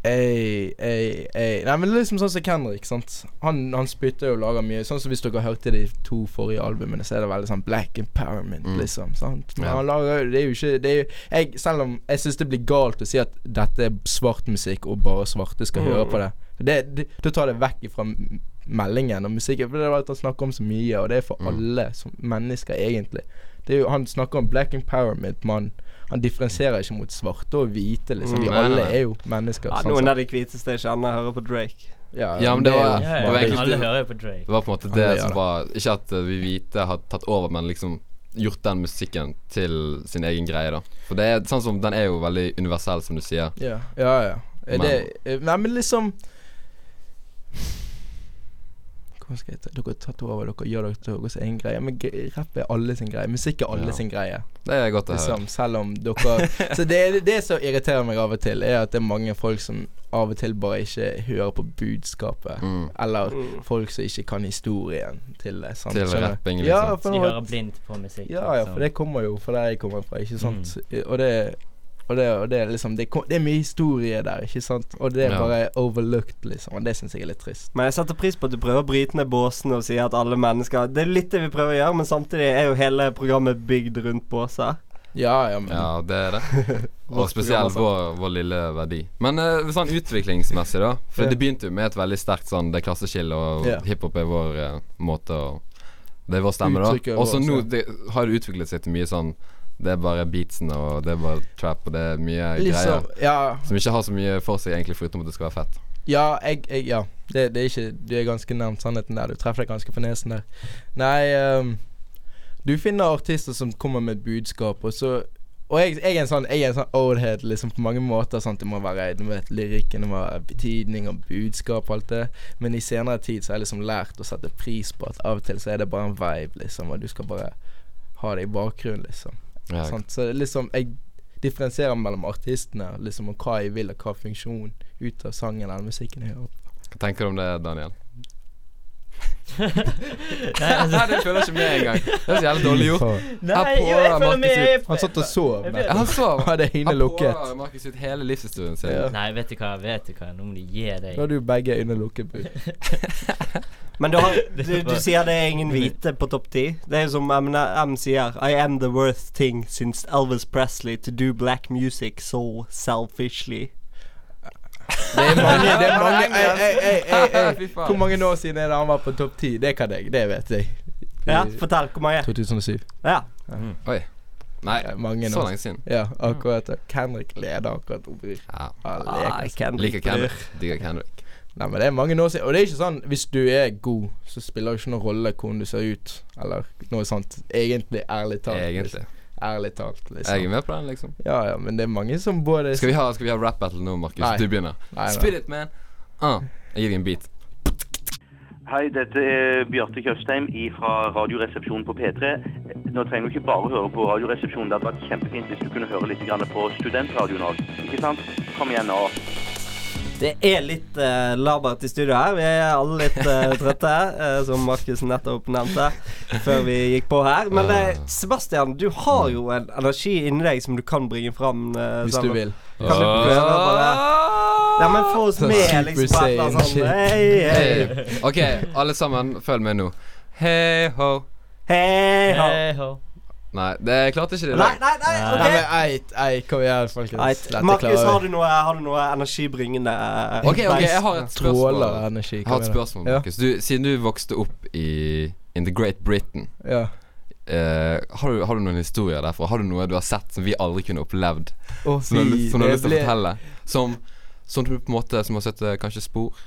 E: Ei, ei, ei. Nei, men liksom sånn som Kendrick, sant. Han, han spytter jo og lager mye. Sånn som hvis dere hørte de to forrige albumene, så er det veldig sånn black empowerment,
B: Mm.
E: liksom. Sant? Men
B: Ja.
E: han lager jo Det er jo ikke det er jo, jeg, Selv om jeg syns det blir galt å si at dette er svart musikk, og bare svarte skal høre
B: Mm.
E: på det. det, det da tar det vekk ifra m- meldingen og musikken. For det har vært snakk om så mye, og det er for
B: Mm.
E: alle som mennesker, egentlig. Det er jo, han snakker om black empowerment, mann. Han differensierer ikke mot svarte og hvite, liksom.
A: Mm,
E: Vi
B: nei, nei,
E: alle
B: nei.
E: er jo mennesker.
A: Ja,
E: sånn
A: noen
E: sett.
A: av de hviteste jeg kjenner, hører på Drake.
E: Ja,
B: Ja, men det
E: er
B: var-
E: jo
C: Ja,
B: det var
E: bare-
C: ja,
B: egentlig-
C: alle hører jo på Drake.
B: Det var på en måte det
E: Ja, det gjør
B: som
E: det.
B: var Ikke at eh, vi hvite har tatt over, men liksom gjort den musikken til sin egen greie, da. For det er sånn som Den er jo veldig universell, som du sier.
E: Ja, ja. ja. Er
B: Men-
E: det, eh, nei, men liksom Hvordan skal jeg ta Dere tar to over dere gjør dere til deres egen greie. Men g- rapp er alle sin greie. Musikk er alle
B: Ja.
E: sin greie.
B: Det er godt å høre.
E: Liksom, selv om dere Så det er det som irriterer meg av og til, er at det er mange folk som av og til bare ikke hører på budskapet.
B: Mm.
E: Eller
A: Mm.
E: folk som ikke kan historien til det. sant?
B: Til
E: Skjønner du?
B: rapping,
E: Ja,
B: liksom.
E: for
C: De
E: nå-
C: hører blindt på musikk.
E: Ja, ja,
C: liksom.
E: for det kommer jo fra der jeg kommer fra, ikke sant? Og, det, og, det, og det er liksom det, kom, det er mye historie der, ikke sant? Og det er
B: Ja.
E: bare overlooked, liksom. Og det syns jeg er litt trist.
A: Men jeg setter pris på at du prøver å bryte ned båsene og si at alle mennesker Det er litt det vi prøver å gjøre, men samtidig er jo hele programmet bygd rundt båser.
E: Ja, ja, men
B: Ja, det er det. Og
A: Vårt
B: spesielt
A: program,
B: vår, vår lille verdi. Men eh, sånn utviklingsmessig, da. For
E: Ja.
B: det begynte jo med et veldig sterkt sånn Det er klasseskille, og
E: Ja.
B: hiphop er vår eh, måte å Det er vår stemme, da.
E: Uttrykket
B: Og så
E: vårt,
B: nå
E: ja.
B: det, har det utviklet seg til mye sånn Det er bare beatsene, og det er bare trap, og det er mye
E: liksom
B: greier.
E: Ja,
B: Som ikke har så mye for seg, egentlig, foruten at det skal være fett.
E: ja jeg, jeg Ja. Det, det er ikke Du er ganske nærmt sannheten der. Du treffer deg ganske på nesen der. Nei ehm, Du finner artister som kommer med et budskap, og så og jeg, jeg er en sånn Jeg er en sånn oldhead liksom, på mange måter. Sant? Det må være du vet, lyrikken, det må være betydning og budskap og alt det. Men i senere tid så har jeg liksom lært å sette pris på at av og til så er det bare en vibe, liksom. Og du skal bare ha det i bakgrunnen, liksom.
B: Ja,
E: Sant? Så det er liksom jeg differensierer mellom artistene liksom, og hva jeg vil, og hva funksjon ut av sangen eller musikken jeg hører.
B: Hva tenker du om det, Daniel?
C: Nei, altså,
B: Nei, det føler jeg ikke med engang. Det er så jævlig dårlig gjort.
C: nei
B: på Altså-
C: jo, jeg føler
B: Markus
C: med. Jeg,
E: Han satt og sov.
C: Jeg vet
B: Han sov.
E: Han hadde øynene
B: Han
E: lukket.
B: pårører Markus ut hele livshistorien sin.
E: Ja.
C: Nei, vet du hva, vet du hva, nå må du gi deg.
E: Da hadde jo begge øynene lukket. Bud.
A: Men du, har, du, du sier det er ingen hvite på topp ti. Det er jo som M, M sier I am the worth thing since Elvis Presley to do black music so selfishly.
E: Det er mange, det er mange ei, ei, ei, ei,
B: Fy
E: ei.
B: faen.
E: Hvor mange år siden er det han var på topp ti? Det kan jeg. Det vet jeg.
A: Ja, fortell hvor mange.
E: 2007.
A: Ja.
B: Oi. Nei,
E: Ja, mange
B: så
E: nå.
B: lenge siden.
E: Ja, akkurat. det. Kendrick leder akkurat opprykk.
B: Ja.
E: Ja, det er
A: Ah,
E: kanskje-
B: Liker
A: Kendrick. Bryr.
B: Kendrick. Digger Kendrick.
E: Nei, men det er mange år siden. Og det er ikke sånn hvis du er god, så spiller det ikke noen rolle hvordan du ser ut, eller noe sånt. Egentlig, ærlig talt.
B: Egentlig.
E: Liksom. Ærlig talt,
B: Jeg er
E: liksom.
B: med på den, liksom.
E: Ja ja, men det er mange som både
B: Skal vi ha, skal vi ha rap battle nå, Markus?
E: Nei.
B: Du begynner.
E: Nei, nei.
B: Spit it, man. Ah, jeg gir deg en beat.
F: Hei, dette er Bjarte Tjøstheim fra Radioresepsjonen på P3. Nå trenger du ikke bare høre på Radioresepsjonen. Det hadde vært kjempefint hvis du kunne høre litt grann på studentradioen òg. Ikke sant? Kom igjen nå.
A: Det er litt eh, labert i studio her. Vi er alle litt eh, trøtte, eh, som Markus nettopp nevnte før vi gikk på her. Men eh, Sebastian, du har jo en energi inni deg som du kan bringe fram. eh,
E: Hvis du
A: sammen.
E: vil.
A: Kan du prøve bare
B: Ah!
A: Ja, men få oss
E: Sånn
A: med, liksom. På et eller annet
E: Super Saiyan
A: sånt. Hei, hei.
B: Hey. OK, alle sammen, følg med nå. Hei ho.
A: Hei, ho.
C: Hei, ho.
B: Nei, det jeg klarte ikke det. i
A: Nei,
B: dag.
A: nei, nei.
E: Nei, men
A: ok
E: eit, ei, kom igjen, folkens.
A: Nei,
E: Dette
A: Markus,
E: klarer
A: har
E: vi.
A: du noe, har du noe energibringende eh,
B: OK, ok, jeg har et spørsmål.
E: Stråler energi.
B: Jeg har et
E: kom igjen.
B: spørsmål, Markus. Du, siden du vokste opp i In the Great Britain,
E: Ja, ja.
B: eh, har, du, har du noen historier derfra? Har du noe du har sett som vi aldri kunne opplevd?
E: Å,
B: Som du, har
E: fy,
B: lyst- som du har
E: det
B: lyst til å
E: ble-
B: fortelle? Som, som du på en måte Som har sett eh, kanskje spor?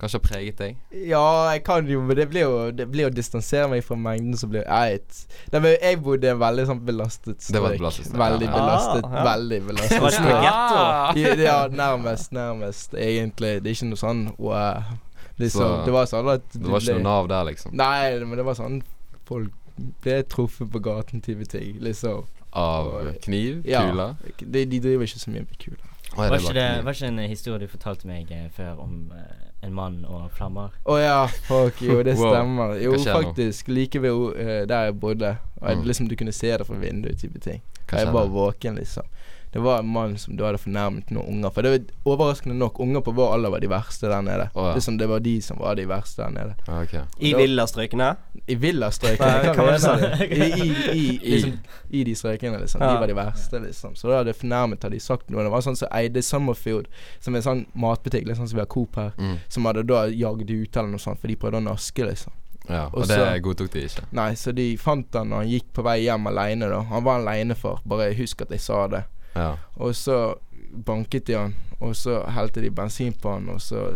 B: Kanskje har preget deg?
E: Ja, jeg kan jo, men det blir jo, det blir jo å distansere meg fra mengden som blir Eit. Nei, men jeg bodde i en veldig sånn belastet strøk.
B: Det var et belastet strøk,
E: Veldig
B: ja,
A: ja.
E: belastet.
A: Ah, ja.
E: Veldig
A: Det var
E: belastet
A: ikke noe
E: strøk.
A: getto.
E: I- Ja, nærmest, nærmest, egentlig. Det er ikke noe sånn wow. Det, er
B: Så-
E: sånn- det var sånn at du
B: Det var ikke
E: ble-
B: noe Nav der, liksom?
E: Nei, men det var sånn folk ble truffet på gaten-type ting, liksom.
B: Av kniv?
E: Ja.
B: Kuler?
E: De, de driver ikke så mye med kuler.
B: Å, ja,
C: Var
B: det
C: ikke,
B: var
C: det,
B: kniv.
C: var ikke en historie du fortalte meg eh, før om eh, en mann og flammer?
E: Å ja, fuck, jo, det
B: Wow.
E: stemmer. Jo,
B: Hva skjer nå?
E: faktisk. Like ved eh, der jeg bodde. Og jeg,
B: Mm.
E: liksom, du kunne se det fra vinduet, type ting.
B: Hva
E: jeg
B: skjer
E: var
B: nå?
E: våken, liksom. Det var en mann som du hadde fornærmet noen unger. For det var overraskende nok, unger på vår alder var de verste der nede.
B: Å, ja.
E: Liksom, det var de som var de verste der nede.
B: Ah, ok.
A: I villastrøkene?
E: I villastrøkene.
A: Nei,
E: hva
A: hva var det
E: mener
A: du
E: du? I, i, i, liksom, I de strøkene, liksom.
A: Ja.
E: De var de verste, liksom. Så da hadde jeg fornærmet, hadde de sagt noe. Det var sånn som eide Summerfield, som er en sånn matbutikk, liksom som vi har Coop her.
B: Mm.
E: Som hadde da jagd ut eller noe sånt, for de prøvde å naske, liksom.
B: Ja, og
E: Og så-
B: det godtok de ikke.
E: Nei, så de fant han når han gikk på vei hjem aleine, da. Han var aleine, far. Bare husk at jeg sa det.
B: Ja.
E: Og så banket de han, og så helte de bensin på han, og så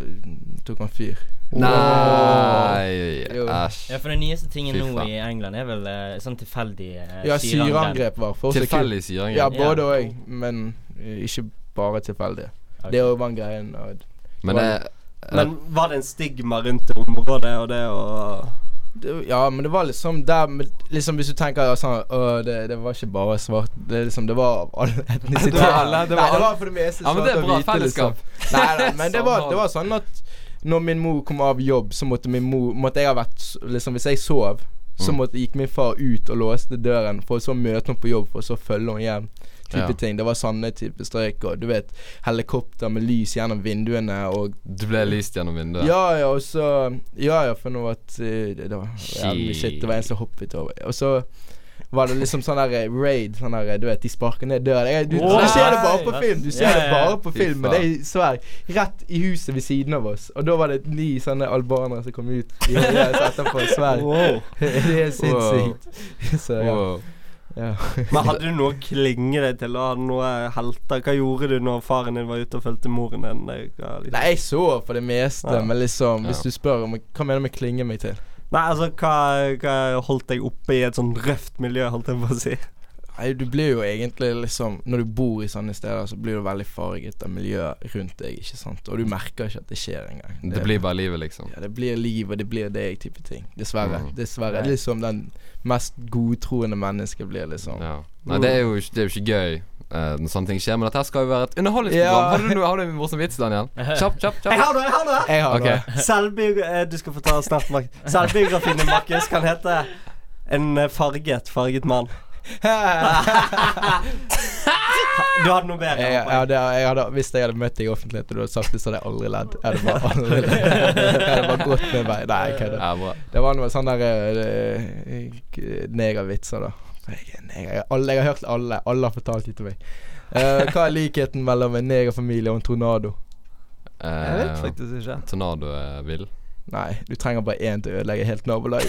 E: tok han fyr.
B: Nei,
E: Jo.
C: Ja,
B: æsj.
C: for den nyeste tingen
B: Fy
C: nå
B: faen.
C: i England er vel eh, sånn tilfeldig eh,
E: Ja,
C: syreangrep.
E: syreangrep var for så kult.
B: Tilfeldig syring.
E: Ja,
B: Ja.
E: både òg, men eh, ikke bare tilfeldig.
C: Ok.
E: Det òg var en greie. og
B: Men det
A: Men var det en stigma rundt det området og det å
E: det- Ja, men det var liksom der men liksom Hvis du tenker ja, sånn Å, det, det var ikke bare svart. Det, er liksom, det var av all etnisitet.
B: Det var alle, det var
E: Nei, det
B: alle.
E: var for det meste
B: Ja, men det er
E: svarte og
B: bra
E: hvite, liksom.
B: fellesskap.
E: Nei, nei, men det var,
B: Sånn.
E: det var sånn at når min mor kom av jobb, så måtte min mor Måtte jeg ha vært s- Liksom, hvis jeg sov, så
B: Mm.
E: måtte, gikk min far ut og låste døren, for så å møte henne på jobb, for så å følge henne hjem. Type
B: Ja.
E: ting. Det var sånne type strøk, og du vet, helikopter med lys gjennom vinduene og
B: Du ble lyst gjennom vinduet.
E: Ja ja, og så Ja ja, for noe at eh, det, det var jævlig mye shit. Det var en som hoppet over. Og så var det liksom sånn der eh, raid sånn der, eh, Du vet, de sparker ned døren. Jeg, du,
A: Wow.
E: du ser det bare på film! Du ser
C: Ja, ja,
E: det
C: ja.
E: bare på
B: Fy
E: film. Men det
B: faen.
E: er i Sverige. Rett i huset ved siden av oss. Og da var det ni sånne albanere som kom ut i hodet etterpå. i Sverige.
A: Wow.
E: Det er helt sinnssykt. Så ja.
B: Wow.
E: ja.
A: Men hadde du noe å klinge deg til? Og hadde noe helter? Hva gjorde du når faren din var ute og fulgte moren din? Hva liksom-
E: Nei, jeg så for det meste,
A: Ja.
E: men liksom
B: Ja.
E: Hvis du spør om Hva mener du med 'klinge meg til'?
A: Nei, altså, hva, hva holdt deg oppe i et sånn røft miljø, holdt jeg på å si?
E: Nei, du blir jo egentlig liksom Når du bor i sånne steder, så blir du veldig farget av miljøet rundt deg, ikke sant. Og du merker ikke at det skjer engang.
B: Det blir bare livet, liksom.
E: ja, det blir liv, og det blir deg type ting. Dessverre.
B: Mm.
E: Dessverre.
C: Nei.
E: Liksom den mest godtroende mennesket blir liksom
B: Ja. Nei, det er jo ikke, det er jo ikke gøy eh, når sånne ting skjer, men dette her skal jo være et underholdningsprogram.
E: Ja.
B: Har, du, noe- har du en morsom vits, Daniel? Kjapp,
A: Jeg
B: kjapp, kjapp.
A: har noe! jeg har noe
E: Jeg har
B: Ok.
E: noe.
A: Selvbiogra- eh, Du skal få ta snart, Mark. Selvbiografien din, Markus, kan hete En eh, farget, farget mann. Du hadde noe bedre.
E: Jeg, jeg,
A: Mark.
E: hadde, jeg hadde, hvis jeg hadde møtt deg i offentligheten og du hadde sagt det, så hadde jeg aldri ledd. Jeg hadde bare aldri ledd. Jeg hadde bare gått med meg. Nei, jeg kødder.
B: Ja, bra.
E: Det var noe sånn der eh, eh, negervitser, da. Jeg er neger. Jeg- Alle, jeg har hørt alle. Alle har fortalt det til meg. Eh, hva er likheten mellom en negerfamilie og en tornado?
A: Jeg vet
B: Eh,
A: faktisk ikke.
B: tornado er vill.
E: Nei, du trenger bare én til å ødelegge helt nabolag.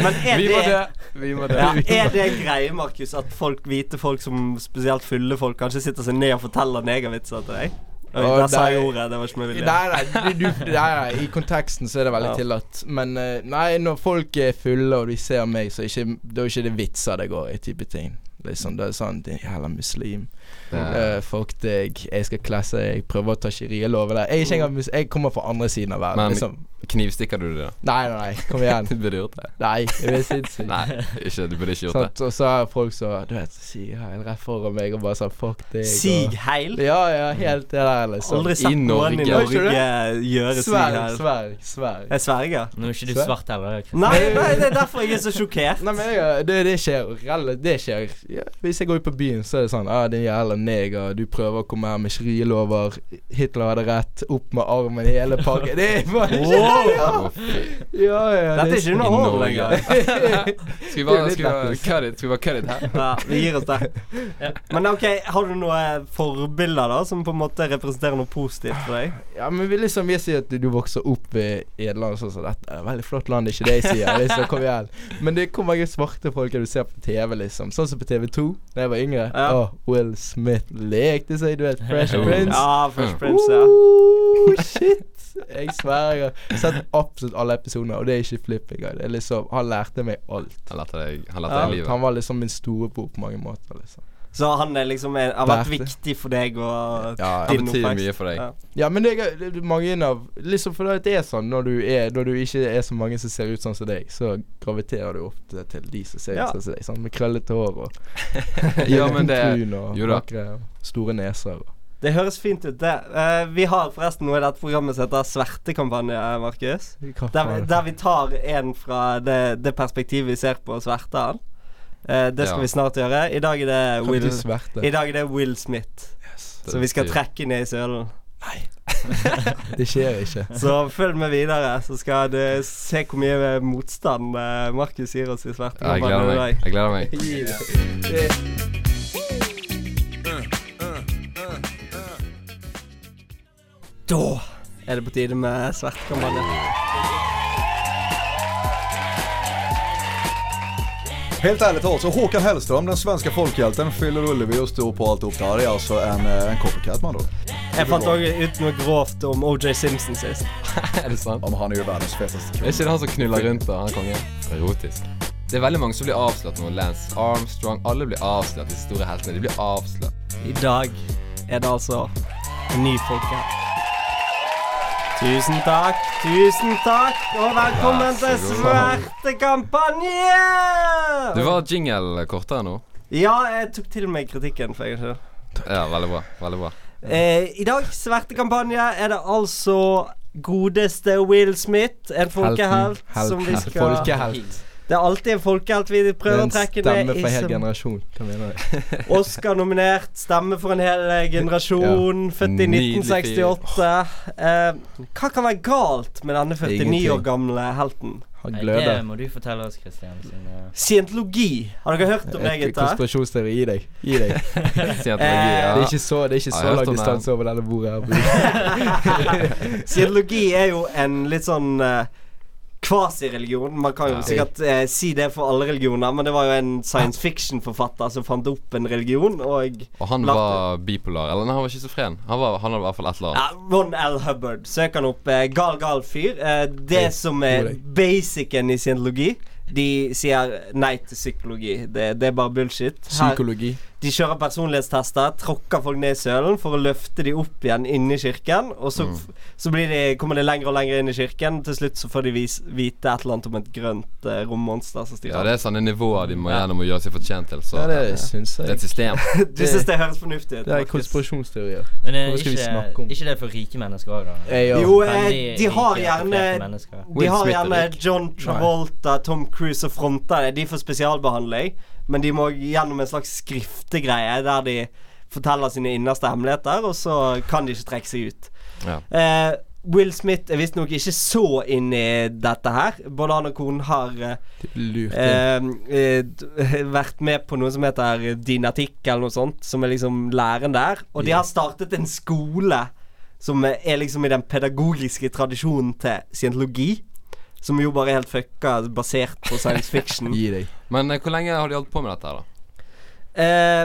A: Men er
E: Vi
A: det,
E: må dø. Vi må dø.
A: ja, er det en greie, Markus, at folk hvite folk som spesielt fulle folk kanskje sitter seg ned og forteller negervitser til deg? Oi,
E: Å,
A: der sa jeg
E: nei.
A: ordet. Det var ikke med vilje.
E: Nei, nei, du, du, nei, nei, i konteksten så er det veldig
A: Ja.
E: tillatt. Men eh, nei, når folk er fulle og de ser meg, så er ikke, da er ikke det vitser det går i type ting. Liksom, det er sånn Din jævla muslim.
B: Det er,
E: Eh, fuck deg. Jeg skal klasse Jeg prøver å ta sharialoven der. Jeg, er ikke engang mus- jeg kommer fra andre siden av verden.
B: Men-
E: Liksom.
B: knivstikker du det? da?
E: Nei, nei, nei. Kom igjen.
B: Du burde gjort det.
E: Nei, det er sinnssykt.
B: Nei, ikke, du burde ikke gjort det.
E: Sant, og så er folk så Du vet, sier han rett foran meg og bare sånn Fuck deg.
A: Sig heil.
E: Og, ja, ja, helt det der, liksom.
A: Aldri sett
B: I
A: noen i
B: Norge.
A: Norge
E: Har
A: gjøre sig
E: Sverg,
A: heil.
E: sverg, sverg.
A: Jeg sverger.
C: Nå er ikke du
E: Sverre?
C: svart heller. eh, Chris.
A: Nei, nei, det er derfor jeg er så sjokkert.
E: Nei, men jeg, det, det skjer. jo relle- Det skjer. Ja, hvis jeg går ut på byen, så er det sånn ah, 'Din jævla neger, du prøver å komme her med sharialover. Hitler hadde rett. Opp med armen, hele pakken.' Det er bare
A: Wow.
B: Å, fy.
E: Ja, ja.
A: Dette er
E: det-
A: ikke noe hår
B: Norge.
A: lenger.
B: Skal vi bare
E: Det er litt
B: skal vi bare
E: lættis.
B: cut it? Skal vi bare cut it her?
A: Ja, vi gir oss det. Men ok, har du noen forbilder da som på en måte representerer noe positivt for deg?
E: Ja, men vi liksom vi sier at du vokser opp i i et land sånn som dette. Det er et veldig flott land, det er ikke det jeg sier. Liksom, kom igjen. Men det er hvor mange svarte folk er du ser på TV, liksom. Sånn som på TV2 da jeg var yngre.
A: Ja.
E: Åh, Will Smith lekte seg, du vet. Fresh
B: Ja.
E: Prince. Mm.
A: Ja, Fresh Prince, ja.
E: Oh, shit. Jeg sverger. Jeg har sett absolutt alle episoder, og det er ikke flipp engang. Det er liksom, han lærte meg alt.
B: Han lærte deg, han lærte
A: Ja,
B: deg livet.
E: Han var liksom min storebror på mange måter. liksom
A: Så han er liksom en, har vært
E: Lærte.
A: viktig for deg og
E: Ja,
B: Han
A: din
B: betyr
A: oppvekst.
B: mye for deg.
A: Ja.
E: Ja, men det er det er mange av Liksom fordi det er sånn når du, er, når du ikke er så mange som ser ut sånn som deg, så graviterer du ofte til de som ser
A: Ja.
E: ut sånn som deg. Sånn, med krøllete hår og
B: Ja, men det
E: brun og
B: jo da.
E: vakre og store neser. og-
A: Det høres fint ut, det. Eh, vi har forresten noe i dette programmet som heter Svertekampanje, eh, Markus.
E: Hva
A: Der,
E: faen?
A: vi- der vi tar en fra det, det perspektivet vi ser på sverteren. Eh, det skal
B: Ja.
A: vi snart gjøre. I dag er det
E: Kan
A: Will,
E: du sverte?
A: i dag er det Will Smith.
E: Yes.
A: Så vi skal trekke ned i sølen.
E: Det skjer ikke.
A: Så følg med videre, så skal du se hvor mye motstand eh, Markus gir oss i
B: Ja, jeg gleder
A: svertekampanje i dag.
B: meg. Jeg gleder meg.
E: Gi det.
A: Da er det på tide med svertekampanje.
G: Helt ärligt alltså, Håkan Hellström, den svenska folkhjälten, fyller Ullevi och står på alltihop. Det här är alltså en, eh, en copycat man då.
A: Jeg fant òg ut noe grovt om OJ Simpson sist.
B: Er det sant?
G: Ja, men han är ju världens fetaste
B: Er
G: kille.
B: ikke det han som knuller rundt da, han kongen? Erotisk. Det er veldig mange som blir avslørt nå. Lance Armstrong. Alle blir avslørt, de store heltene. De blir avslørt.
A: I dag er det altså en ny folkehelt. Tusen takk, tusen takk, og velkommen
B: Ja, så
A: til
B: god.
A: Svertekampanje!
B: Du var jingle kortere nå.
A: Ja, jeg tok til meg kritikken. for jeg ikke.
B: Ja, veldig bra. Veldig bra.
A: Eh, I dag, Svertekampanje, er det altså godeste Will Smith, en folkehelt
E: Helten.
A: som vi
E: Helten.
A: skal
E: Folkehelt.
A: Det er alltid en folkehelt vi
E: Det er
A: prøver
E: en
A: å trekke ned
E: stemme for en hel
A: som-
E: generasjon. Hva mener du?
A: Oscar-nominert, stemme for en hel eh, generasjon, født i
B: Nydelig
A: 1968. Eh, hva kan være galt med denne 49 år
E: Ingenting.
A: gamle helten?
E: Han
C: Nei,
E: gløder.
C: det må du fortelle oss, Christian. Sin, eh,
A: Scientologi. Har dere hørt om det,
E: Et
A: gutta?
E: konspirasjonsteori. Gi deg. Gi deg.
B: Scientologi,
E: Det
B: ja.
E: er ikke så, det er ikke
B: Ja, jeg
E: så
B: har hørt
E: lang
B: om det.
E: distanse over denne bordet her.
A: Scientologi er jo en litt sånn eh, Kvasireligion. Man kan jo
B: Ja.
A: sikkert eh, si det for alle religioner, men det var jo en science fiction-forfatter som fant opp en religion, og
B: Og han
A: Latter.
B: var bipolar. Eller nei, han var schizofren. Han, var, han hadde i hvert fall et eller annet.
A: Ja, Ron L. Hubbard. Søk han opp. eh, Gal, gal fyr. Eh, Det
E: Hei,
A: som
E: god
A: er
E: dag.
A: basicen i scientologi, de sier nei til psykologi. Det, det er bare bullshit. Her,
E: Psykologi.
A: de kjører personlighetstester, tråkker folk ned i sølen for å løfte de opp igjen inni kirken. Og
B: Mm.
A: så, så blir de, kommer de lenger og lenger inn i kirken. Til slutt så får de vis, vite et eller annet om et grønt eh, rommonster som
B: Ja,
A: styrer.
B: det er sånne nivåer de må gjennom å gjøre seg fortjent til, så
E: Ja, det syns
B: det er
E: jeg.
B: et system.
A: Du syns det høres fornuftig ut?
E: Det er
A: Markus?
E: konspirasjonsteorier.
C: Men eh,
E: Hva skal vi snakke
C: ikke,
E: om?
C: ikke det for rike mennesker òg, da?
E: Eh, ja.
A: Jo,
C: Veldig
A: eh, de har
C: rike, profilerte
A: gjerne
C: mennesker.
A: De
B: Will
A: har
B: Smith er
A: gjerne
B: rik.
A: John Travolta, Tom Cruise og fronter det. De får spesialbehandling, men de må gjennom en slags skriftegreie der de forteller sine innerste hemmeligheter, og så kan de ikke trekke seg ut.
B: Ja.
A: Eh, Will Smith er visstnok ikke så inn i dette her. Både han og konen har eh,
E: Lurt. inn.
A: eh, eh, d- vært med på noe som heter dinatikk, eller noe sånt, som er liksom læren der. Og de har startet en skole som er liksom i den pedagogiske tradisjonen til scientologi. Som jo bare er helt fucka basert på science fiction.
E: Gi deg.
B: Men eh, hvor lenge har de holdt på med dette her, da?
A: Eh,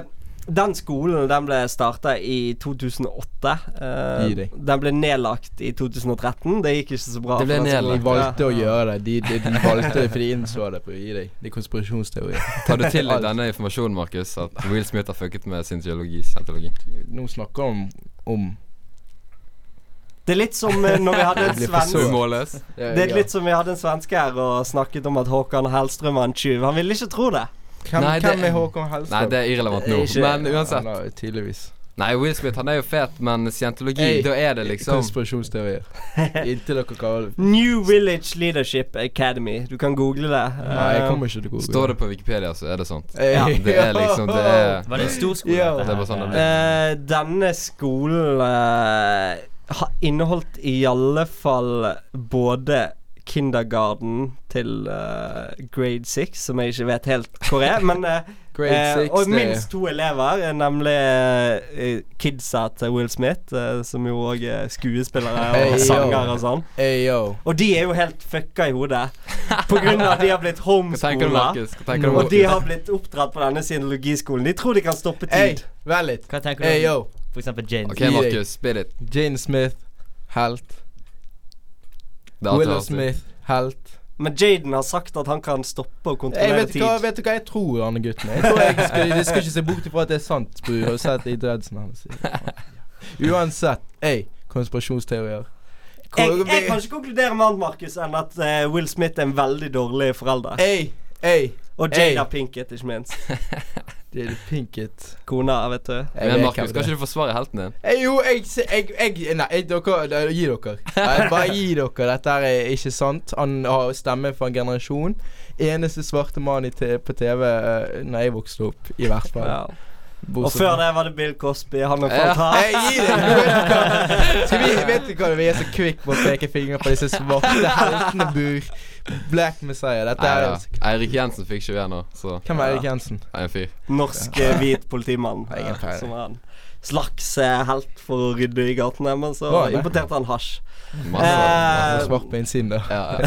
A: den skolen den ble starta i 2008. Eh,
E: Gi deg.
A: den ble nedlagt i 2013. Det gikk ikke så bra.
B: Det
A: for
B: ble
A: den
E: De
B: nedlagt.
A: skolen.
E: valgte å gjøre det. De, de, de valgte det fordi de innså det på Gi deg. Det er konspirasjonsteorier.
B: Tar du til deg
E: Alt.
B: denne informasjonen, Markus, at Will Smith har fucket med sin teologi? Scientologi?
E: Nå snakker de om,
A: Det er litt som eh, når vi hadde en
E: Det blir for
A: svensk
E: Så-
B: Målløs?
E: om
A: Det er litt som vi hadde en svenske her og snakket om at Håkan Hellstrøm var en tyv. Han ville ikke tro det.
E: Hvem,
B: Nei, det-
E: hvem er Håkon Hellstrøm?
B: Nei, det er irrelevant nå.
E: Ikke-
B: Men uansett.
E: Han er tydeligvis
B: Nei, Will Smith han er jo fet, men scientologi,
E: Hey,
B: da er det liksom
E: Konspirasjonsteorier. Inntil dere kan
A: New Village Leadership Academy. Du kan google det.
E: Nei, jeg kommer ikke til å google.
B: Står det på Wikipedia, så er det sånt.
E: Ja.
B: Det er liksom Det er
C: Var det en stor skole?
E: Ja.
C: dette
B: Det var
C: her?
B: sånn det ble.
A: Eh, denne skolen eh, har inneholdt i alle fall både kindergarten til eh, grade six, som jeg ikke vet helt hvor er, men eh,
E: Grade
A: eh,
E: six,
A: og
E: det-
A: minst to elever, eh, nemlig eh, kidsa til Will Smith, eh, som jo òg er skuespillere
E: Hey, yo.
A: og sanger og sånn.
E: Ey, yo.
A: Og de er jo helt fucka i hodet. På grunn av at de har blitt
B: Hva tenker du,
A: homeskola.
B: Markus? Hva tenker du,
A: Og de
B: Markus?
A: har blitt oppdratt på denne scientologiskolen. De tror de kan stoppe
E: Ey,
A: tid.
E: vær litt.
C: Hva tenker du
E: Ey,
C: om
E: Eh, yo.
C: for eksempel James?
B: OK, Markus, spit it.
E: Jane Smith, helt.
B: Det er alt du
E: Willow
B: har til.
E: Smith, helt.
A: Men Jaden har sagt at han kan stoppe og
E: Jeg
A: kontrollere
E: vet, du hva,
A: tid.
E: vet du hva jeg tror, Anne gutten? Jeg tror jeg skal, jeg skal ikke se bort ifra at det er sant. Bror. Jeg har sett i dreadsen hans. Uansett. Ey, konspirasjonsteorier.
A: Jeg, jeg kan ikke konkludere med annet, Markus, enn at eh, Will Smith er en veldig dårlig forelder.
E: Ey, ey.
A: Og
E: Ey.
A: Jada Pinkett, ikke minst.
E: Det er Pinkett.
A: Kona, vet du.
B: Men Markus, skal ikke du forsvare helten din?
E: Hey, Eh, jo, jeg, se- jeg, jeg eh, Nei, jeg, dere, dere- gi dere. Nei, Bare gi dere. Dette her er ikke sant. Han har stemme for en generasjon. Eneste svarte mann i te- på TV eh, Når jeg vokste opp, i hvert fall.
A: Ja. Og før det var det Bill Cosby. Han med falt
E: Hey, gi deg! Du vet hva- Skal vi, vet du hva vi er så kvikke på å peke fingre på disse svarte heltene, bur? Black Messiah. Dette
B: Nei,
E: er
B: ja. Eirik Jensen fikk 21 nå, så
E: Hvem er Erik Jensen?
B: han er en fyr.
A: Norsk eh, hvit politimann. eh,
E: Nei, ingen peiling.
A: Som var en slags eh, helt for å rydde i gatene, men så
E: Var han det?
A: importerte han hasj.
B: Masse,
E: Han
A: Eh,
E: er
B: masse.
E: Svart på innsiden, da.
B: Ja, ja.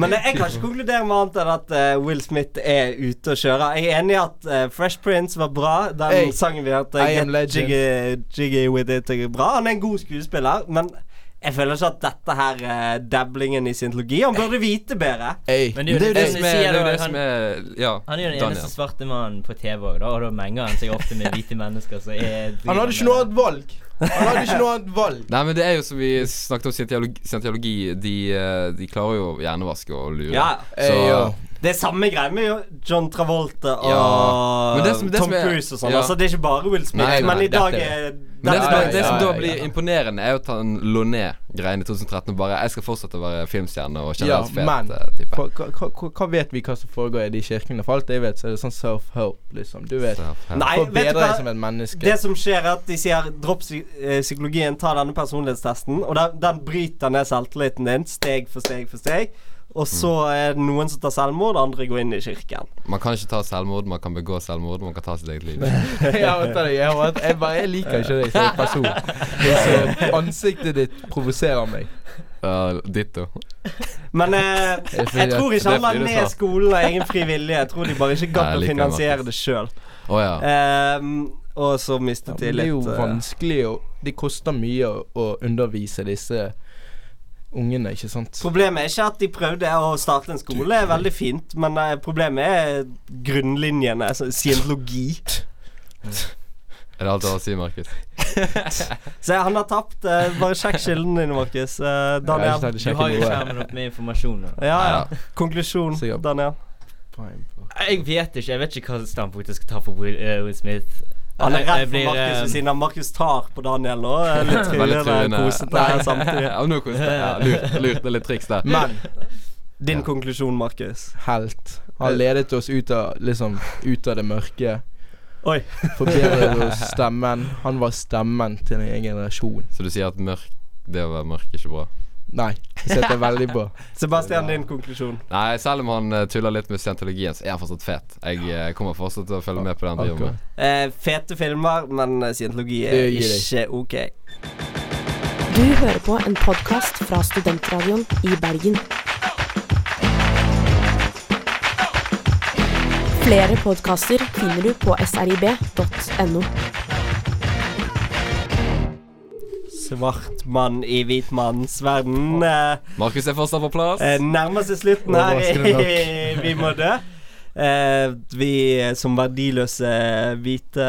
A: Men eh, jeg kan ikke konkludere med annet enn at eh, Will Smith er ute og kjører. Jeg er enig i at eh, Fresh Prince var bra. Den
E: Hey,
A: sangen vi hørte,
E: I Am
A: Get Jiggy, Jiggy With It, er bra. Han er en god skuespiller, men jeg føler ikke at dette her eh, dablingen i scientologi Han burde vite bedre.
E: Ey.
C: Men
B: Men det er jo det
C: du
B: som er,
C: sier
B: det er, jo
C: da,
B: det
C: han-
B: som er Ja,
C: Han er jo den eneste
B: Daniel.
C: svarte mannen på TV òg, og da menger han seg ofte med hvite mennesker. Så er
E: Han hadde ikke noe annet valg. Han hadde ikke noe annet valg.
B: Nei, men det er jo som vi snakket om scientologi, scientologi de, eh, de klarer jo å hjernevaske og lure.
A: Ja,
B: Så
E: Ey, yo.
A: Det er samme greie med jo John Travolta og
B: Ja. Men det som- det
A: Tom
B: som er-
A: Cruise og sånn.
B: ja.
A: Altså, det er ikke bare Will Smith,
B: Nei, nei,
A: men i
E: dette
A: dag
E: er-
A: er
B: Men det, som,
E: Nei,
B: det som
E: ja,
B: da
E: ja,
B: blir
E: ja.
B: imponerende, er jo at han lå ned greiene i 2013 og bare 'Jeg skal fortsette å være filmstjerne og
E: Ja,
B: generelt
E: men
B: fet eh, type'.
E: hva, hva- hva, hva vet vi hva som foregår i de kirkene? For alt jeg vet, så er det sånn self-hope, liksom. Du vet.
B: Så, ja.
A: Nei, vet
E: Forbedre
A: du
E: deg som
A: hva?
E: et
A: Det
E: menneske.
A: som skjer, er at de sier 'dropp psy- eh, psykologien, ta denne personlighetstesten', og den, den bryter ned selvtilliten din steg for steg for steg. Og så
B: Mm.
A: er det noen som tar selvmord, andre går inn i kirken.
B: Man kan ikke ta selvmord, man kan begå selvmord, man kan ta sitt eget liv.
E: jeg hater deg. Jeg, hater, jeg bare jeg liker ikke deg som person. Så ansiktet ditt provoserer meg.
B: Uh, ditto.
A: Men eh,
E: er fordi
A: jeg
E: at-
A: tror
B: det
A: ikke
B: er
A: han la
B: fordi du
A: ned
B: sa.
A: skolen av egen fri vilje. Jeg tror de bare ikke
B: Nei,
A: gadd å
B: jeg liker
A: finansiere
B: Markus.
A: det sjøl.
B: Å ja.
A: og så mistet
E: Det
A: de
E: er jo
A: litt eh,
E: vanskelig å Det koster mye å, å undervise disse ungene, ikke sant?
A: Problemet er ikke at de prøvde å starte en skole, er veldig fint, men eh, problemet er grunnlinjene, altså scientologi.
B: Er det alt du har å si, Markus?
A: Så han har tapt. eh, bare sjekk kilden din, Markus. Eh,
E: Jeg har ikke
A: Daniel.
E: tatt det
C: Du har jo
E: sjekket noe.
C: skjermen opp med informasjon. nå.
A: Ja,
B: Nei,
A: ja.
B: ja.
A: Konklusjon,
E: Sikkert.
A: Daniel.
C: Jeg vet ikke. Jeg vet ikke hva standpunktet jeg skal ta for Will, eh, Will Smith.
A: Han er
C: Jeg- jeg
A: redd for
C: blir,
A: Markus
C: eh,
A: ved siden av. Markus tar på Daniel nå. Eh, Litt
B: Veldig
A: tryllende,
B: tryllende.
A: kosete samtidig.
B: Ja, nå koste jeg. Ja, lurt, lurt. Det er litt triks der.
E: Men
A: Din konklusjon, Markus.
E: helt. Han ledet oss ut av, liksom, ut av det mørke.
A: Oi.
E: Forbedret oss stemmen. Han var stemmen til en egen generasjon.
B: Så du sier at mørk det å være mørk er ikke bra?
E: Nei, det setter jeg veldig på.
A: Sebastian, din konklusjon.
B: Nei, selv om han eh, tuller litt med scientologien, så er han fortsatt fet. Jeg eh, kommer fortsatt til å følge med på det han driver med.
A: Eh, fete filmer, men eh, scientologi er
E: Det gir
A: ikke ok.
D: Du hører på en podkast fra Studentradioen i Bergen. Flere podkaster finner du på srib.no.
A: Svart mann i hvit manns verden. Eh,
B: Markus er fortsatt på plass.
A: Eh, nærmer seg slutten her
E: Overraskende
A: i Vi må dø. Eh, vi som verdiløse hvite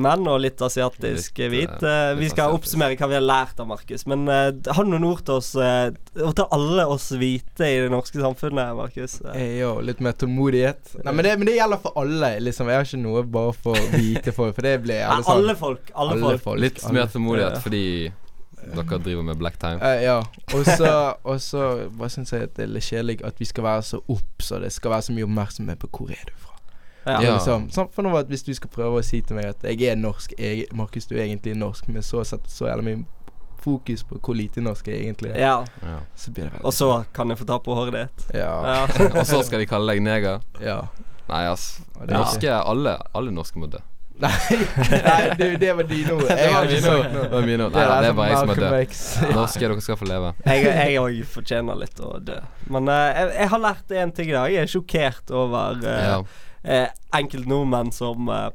A: menn, og litt asiatisk
B: Litt,
A: hvit.
B: eh,
A: Eh, vi
B: litt
A: skal
B: asiatisk.
A: oppsummere hva vi har lært av Markus. Men eh, har du noen ord til oss, eh, og til alle oss hvite i det norske samfunnet, Markus? Eh,
E: Eh, jo, litt mer tålmodighet. Nei, men det, men det gjelder for alle. liksom Jeg har ikke noe bare for hvite folk, for det blir
A: Alle,
E: alle sånn.
A: folk. Alle, folk.
B: Litt
E: alle.
B: mer tålmodighet fordi dere driver med black time.
E: Eh, ja. Og så- Og så bare syns jeg at det er litt kjedelig at vi skal være så obs, og det skal være så mye oppmerksomhet på hvor er du fra.
A: Ja.
E: Ja. Liksom. Sånn, for nå at Hvis du skal prøve å si til meg at jeg er norsk jeg, Markus, du er egentlig norsk, men så setter så jævlig mye fokus på hvor lite norsk jeg egentlig er,
A: Ja.
B: Ja.
E: så blir det veldig
A: Og så kan jeg få ta på håret ditt.
E: Ja.
A: Ja.
B: Og så skal de kalle deg neger.
E: ja.
B: Nei, ass.
E: Og det er
B: Norske, alle, alle norske må dø.
E: Nei, nei det, det var dine ord. Jeg har ikke sagt
B: Det
E: noe. altså
B: var mine ord. Nei, nei, det er bare jeg som er død.
E: Malcolm X.
B: Norske, dere skal få leve.
A: Jeg òg fortjener litt å dø. Men eh, jeg, jeg har lært én ting i dag. Jeg er sjokkert over eh,
B: Ja.
A: eh, enkelt nordmenn som eh,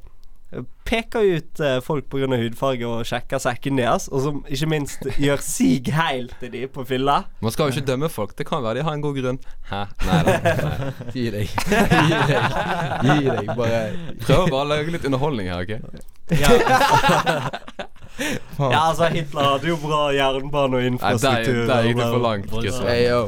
A: peker ut eh, folk pga. hudfarge og sjekker sekken deres, og som ikke minst gjør sig heil til de på fylla.
B: Man skal jo ikke dømme folk. Det kan være de har en god grunn. Hæ? Nei da.
E: Gi deg. Gi deg. Gi deg. Bare
B: Prøver bare å lage litt underholdning her, OK?
A: Ja, altså, Hitler hadde jo bra jernbane og
B: Nei, der,
A: infrastruktur.
B: der gikk du
A: og-
B: for langt. Kristian.
E: Hey, yo.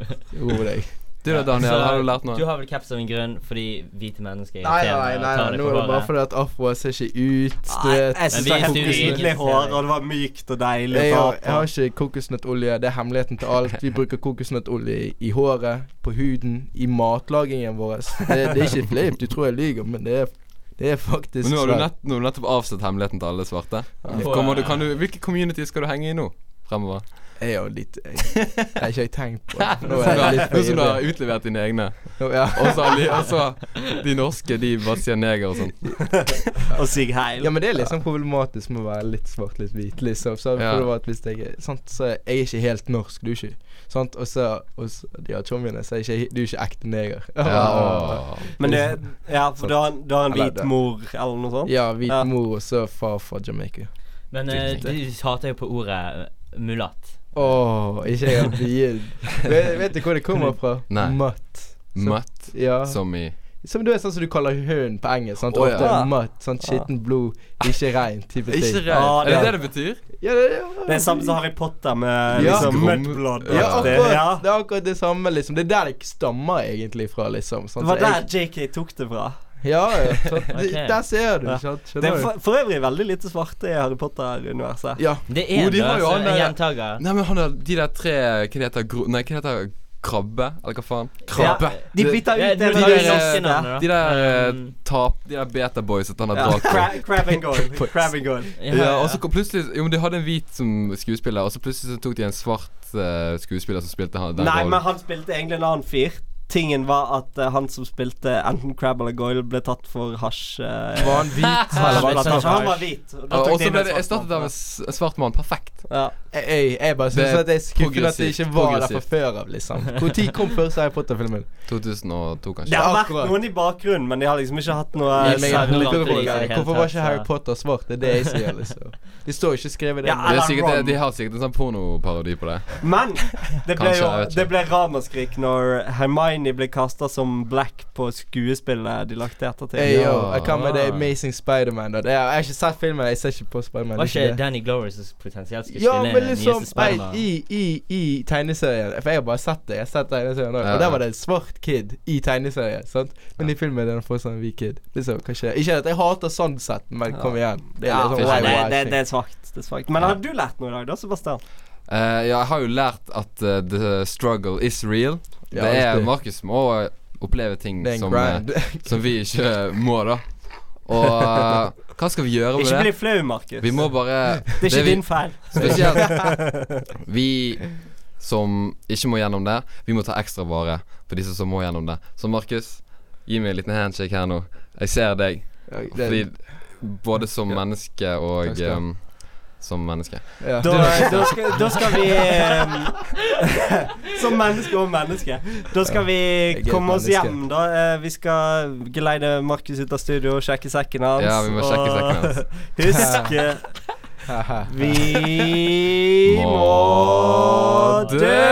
C: Yo.
E: Ro deg.
B: Du da, Daniel.
C: Så,
B: Har du lært noe?
C: Du har vel caps av en grunn fordi hvite mennesker
E: Nei,
C: irriterer
E: nei,
C: og
E: nei,
C: tar
E: nei,
C: deg
E: nå
C: på
E: er det bare
C: håret.
E: fordi at afroer ser ikke ut.
A: Nei,
E: Det,
A: jeg synes
C: Men
A: det
C: vi
A: var helt
C: er studenter.
A: nydelig hår, og det var mykt og deilig
E: jeg,
A: å
E: har, jeg
A: ta
E: har
A: på.
E: ikke kokosnøttolje. Det er hemmeligheten til alt. Vi bruker kokosnøttolje i, i håret, på huden, i matlagingen vår. Det, det er ikke fleip, du tror jeg lyver, men det er, det er faktisk
B: Men nå har du
E: sant.
B: nett, nå har du nettopp avsett hemmeligheten til alle svarte.
C: Ja.
B: Kommer du, kan du, hvilke community skal du henge i nå? Fremover.
E: Jeg er jo litt jeg, jeg, har ikke jeg tenkt på det.
B: Nå
E: Nå
B: som
E: er
B: du
E: jeg
B: har-
E: litt
B: nå som du har
E: for
B: utlevert dine egne.
E: ivrig. Ja.
B: Og så har de, og så de norske, de bare sier neger og sånn.
A: Og sig heil.
E: Ja, men det er liksom problematisk med å være litt svart, litt hvit, liksom. Så
B: Ja.
E: for det var at hvis jeg er sant, så er jeg ikke helt norsk, du er ikke sant? Og så og så- de har tjommene, så er jeg ikke, du er ikke ekte neger.
B: Ja.
A: Men det, ja, for du har, du har en
E: Eller
A: hvit
E: det.
A: mor eller noe sånt?
E: Ja, hvit
A: Ja.
E: mor og så far fra Jamaica.
C: Men eh, du hater jo på ordet eh, mulatt.
E: Åh, ikke jeg har begynt. vet, vet du hvor det kommer fra?
B: Nei.
E: Matt.
B: Mutt
E: Ja. Som,
B: som i
E: du er sånn som du kaller hund på engelsk. Sant?
B: Å, ja.
E: Ofte
A: Ja.
E: matt. Sånn skittent blod, ikke reint type ting.
B: Ikke
A: Ah, det-
B: redd. Er det det det betyr?
E: Ja, det, ja.
A: Det er samme som Harry Potter med
E: Ja.
A: liksom
B: Grom-
A: mudblood.
E: Ja, akkurat.
A: Det- ja.
E: Det er akkurat det samme, liksom. Det er der det stammer egentlig fra, liksom.
A: Det
E: sant?
A: var
E: Så jeg-
A: der JK tok det fra.
E: Ja, ja. sant.
C: Ok.
E: Det- Der ser du,
A: Ja.
E: ikke sant?
A: Det
E: Skjønner
A: er
E: du?
A: for, for øvrig veldig lite svarte i Harry Potter-universet.
E: Ja.
C: Det er
B: Oh,
C: en
B: de har jo
C: altså,
B: han der-
C: en gjentager.
B: Nei, men han har de der tre Hva det heter gro... Nei, hva det heter krabbe? Eller hva faen?
A: Krabbe. De bytter
C: Ja,
A: ut
C: du
A: det
B: de
C: tar jo
B: der- eh,
C: norske navnet, da.
B: De der eh,
C: Um,
B: tap... De der beta-boys at han har
A: Ja,
B: drag på.
A: Cra- Crab and goal. Crab and goal.
C: ja,
B: Ja, og så kom plutselig Jo, men de hadde en hvit som skuespiller, og så plutselig så tok de en svart eh, skuespiller som spilte han den
A: Nei,
B: rollen.
A: men han spilte egentlig en annen fyr. Tingen var at eh, han som spilte enten Crab eller Goyle, ble tatt for hasj. eh,
E: Var han hvit? Eller var
A: han,
E: han tatt for
A: var
E: hasj?
A: hvit. og da tok
B: Og
A: de
B: så
A: inn
B: ble
A: en
B: det
A: svart
B: erstattet
A: mann.
B: av en s- en svart mann. Perfekt.
A: ja.
E: Jeg, jeg bare synes
B: Det er
E: at jeg skuffer at det
B: progressivt,
E: ikke var der fra
B: progressivt.
E: før av, liksom. Når kom første Harry Potter-filmen?
B: 2002,
A: Det
B: kanskje.
A: har vært
E: akkurat.
A: noen i bakgrunnen, men de har liksom ikke hatt noe
E: Jeg
C: er
E: mener,
C: særlig
E: hvorfor
C: lite
E: var-
C: i det hele
E: Hvorfor var
C: tatt,
E: ikke Harry
C: så-
E: Potter svart? Det er det jeg sier, liksom. De står ikke skrevet det.
A: Ja,
E: men-
B: Det er
A: Eller
B: sikkert,
A: Ron.
B: de har sikkert en sånn pornoparodi på det.
A: Men det ble
B: Kanskje,
A: jo
B: jeg vet ikke.
A: Det ble ramaskrik når Hermione ble kasta som black på skuespillet de lagde ettertid.
E: Hey, yo,
B: Ja.
E: jeg kan med The Amazing Spiderman. da. Det er- Jeg har ikke sett filmen. Jeg ser ikke på Spiderman.
C: Var
E: det er
C: ikke
E: det.
C: Danny Glover som potensielt skulle
E: Ja,
C: spille
E: men
C: den
E: liksom
C: nyeste
E: nei,
C: Spiderman?
E: i, i, i tegneserien. For jeg har bare sett det. Jeg har sett tegneserien også,
B: Ja,
E: Og der
B: ja.
E: var det en svart kid i tegneserien. sant? Men i filmen er det fortsatt en hvit kid. Liksom, kanskje, ikke at jeg hater sånn sett, men kom igjen. Det er
A: Ja, nei,
E: litt sånn
A: det, det,
E: whitewashing.
A: det er svakt. Det er svakt. Men har du lært noe i dag, da, Sebastian?
B: Eh, ja, jeg har jo lært at eh, the struggle is real.
E: Ja,
B: det er
E: riktig.
B: Markus må oppleve ting
E: Det er en
B: som, eh,
E: grind.
B: som vi ikke må, da. Og eh, hva skal vi gjøre
A: Ikke
B: med
A: bli
B: det?
A: flau, Markus.
B: Vi må bare
A: det er ikke
B: vi,
A: din feil.
B: Spesielt vi som ikke må gjennom det, vi må ta ekstra vare på disse som må gjennom det. Så Markus, gi meg en liten handshake her nå. Jeg ser deg.
E: Ja, det-
B: Fordi både som menneske
E: Takk
B: og
E: skal du ha.
B: em, som menneske.
E: ja.
A: Da, da, skal, da skal vi eh, Som menneske og menneske. Da skal vi
E: Jeg er
A: komme oss
E: menneske.
A: hjem, da. Eh, Vi skal geleide Markus ut av studio, sjekke sekken hans.
B: Ja, vi må sjekke
A: og
B: sekken hans.
A: Husk eh,
E: Haha.
A: Vi må
B: Må
A: dø!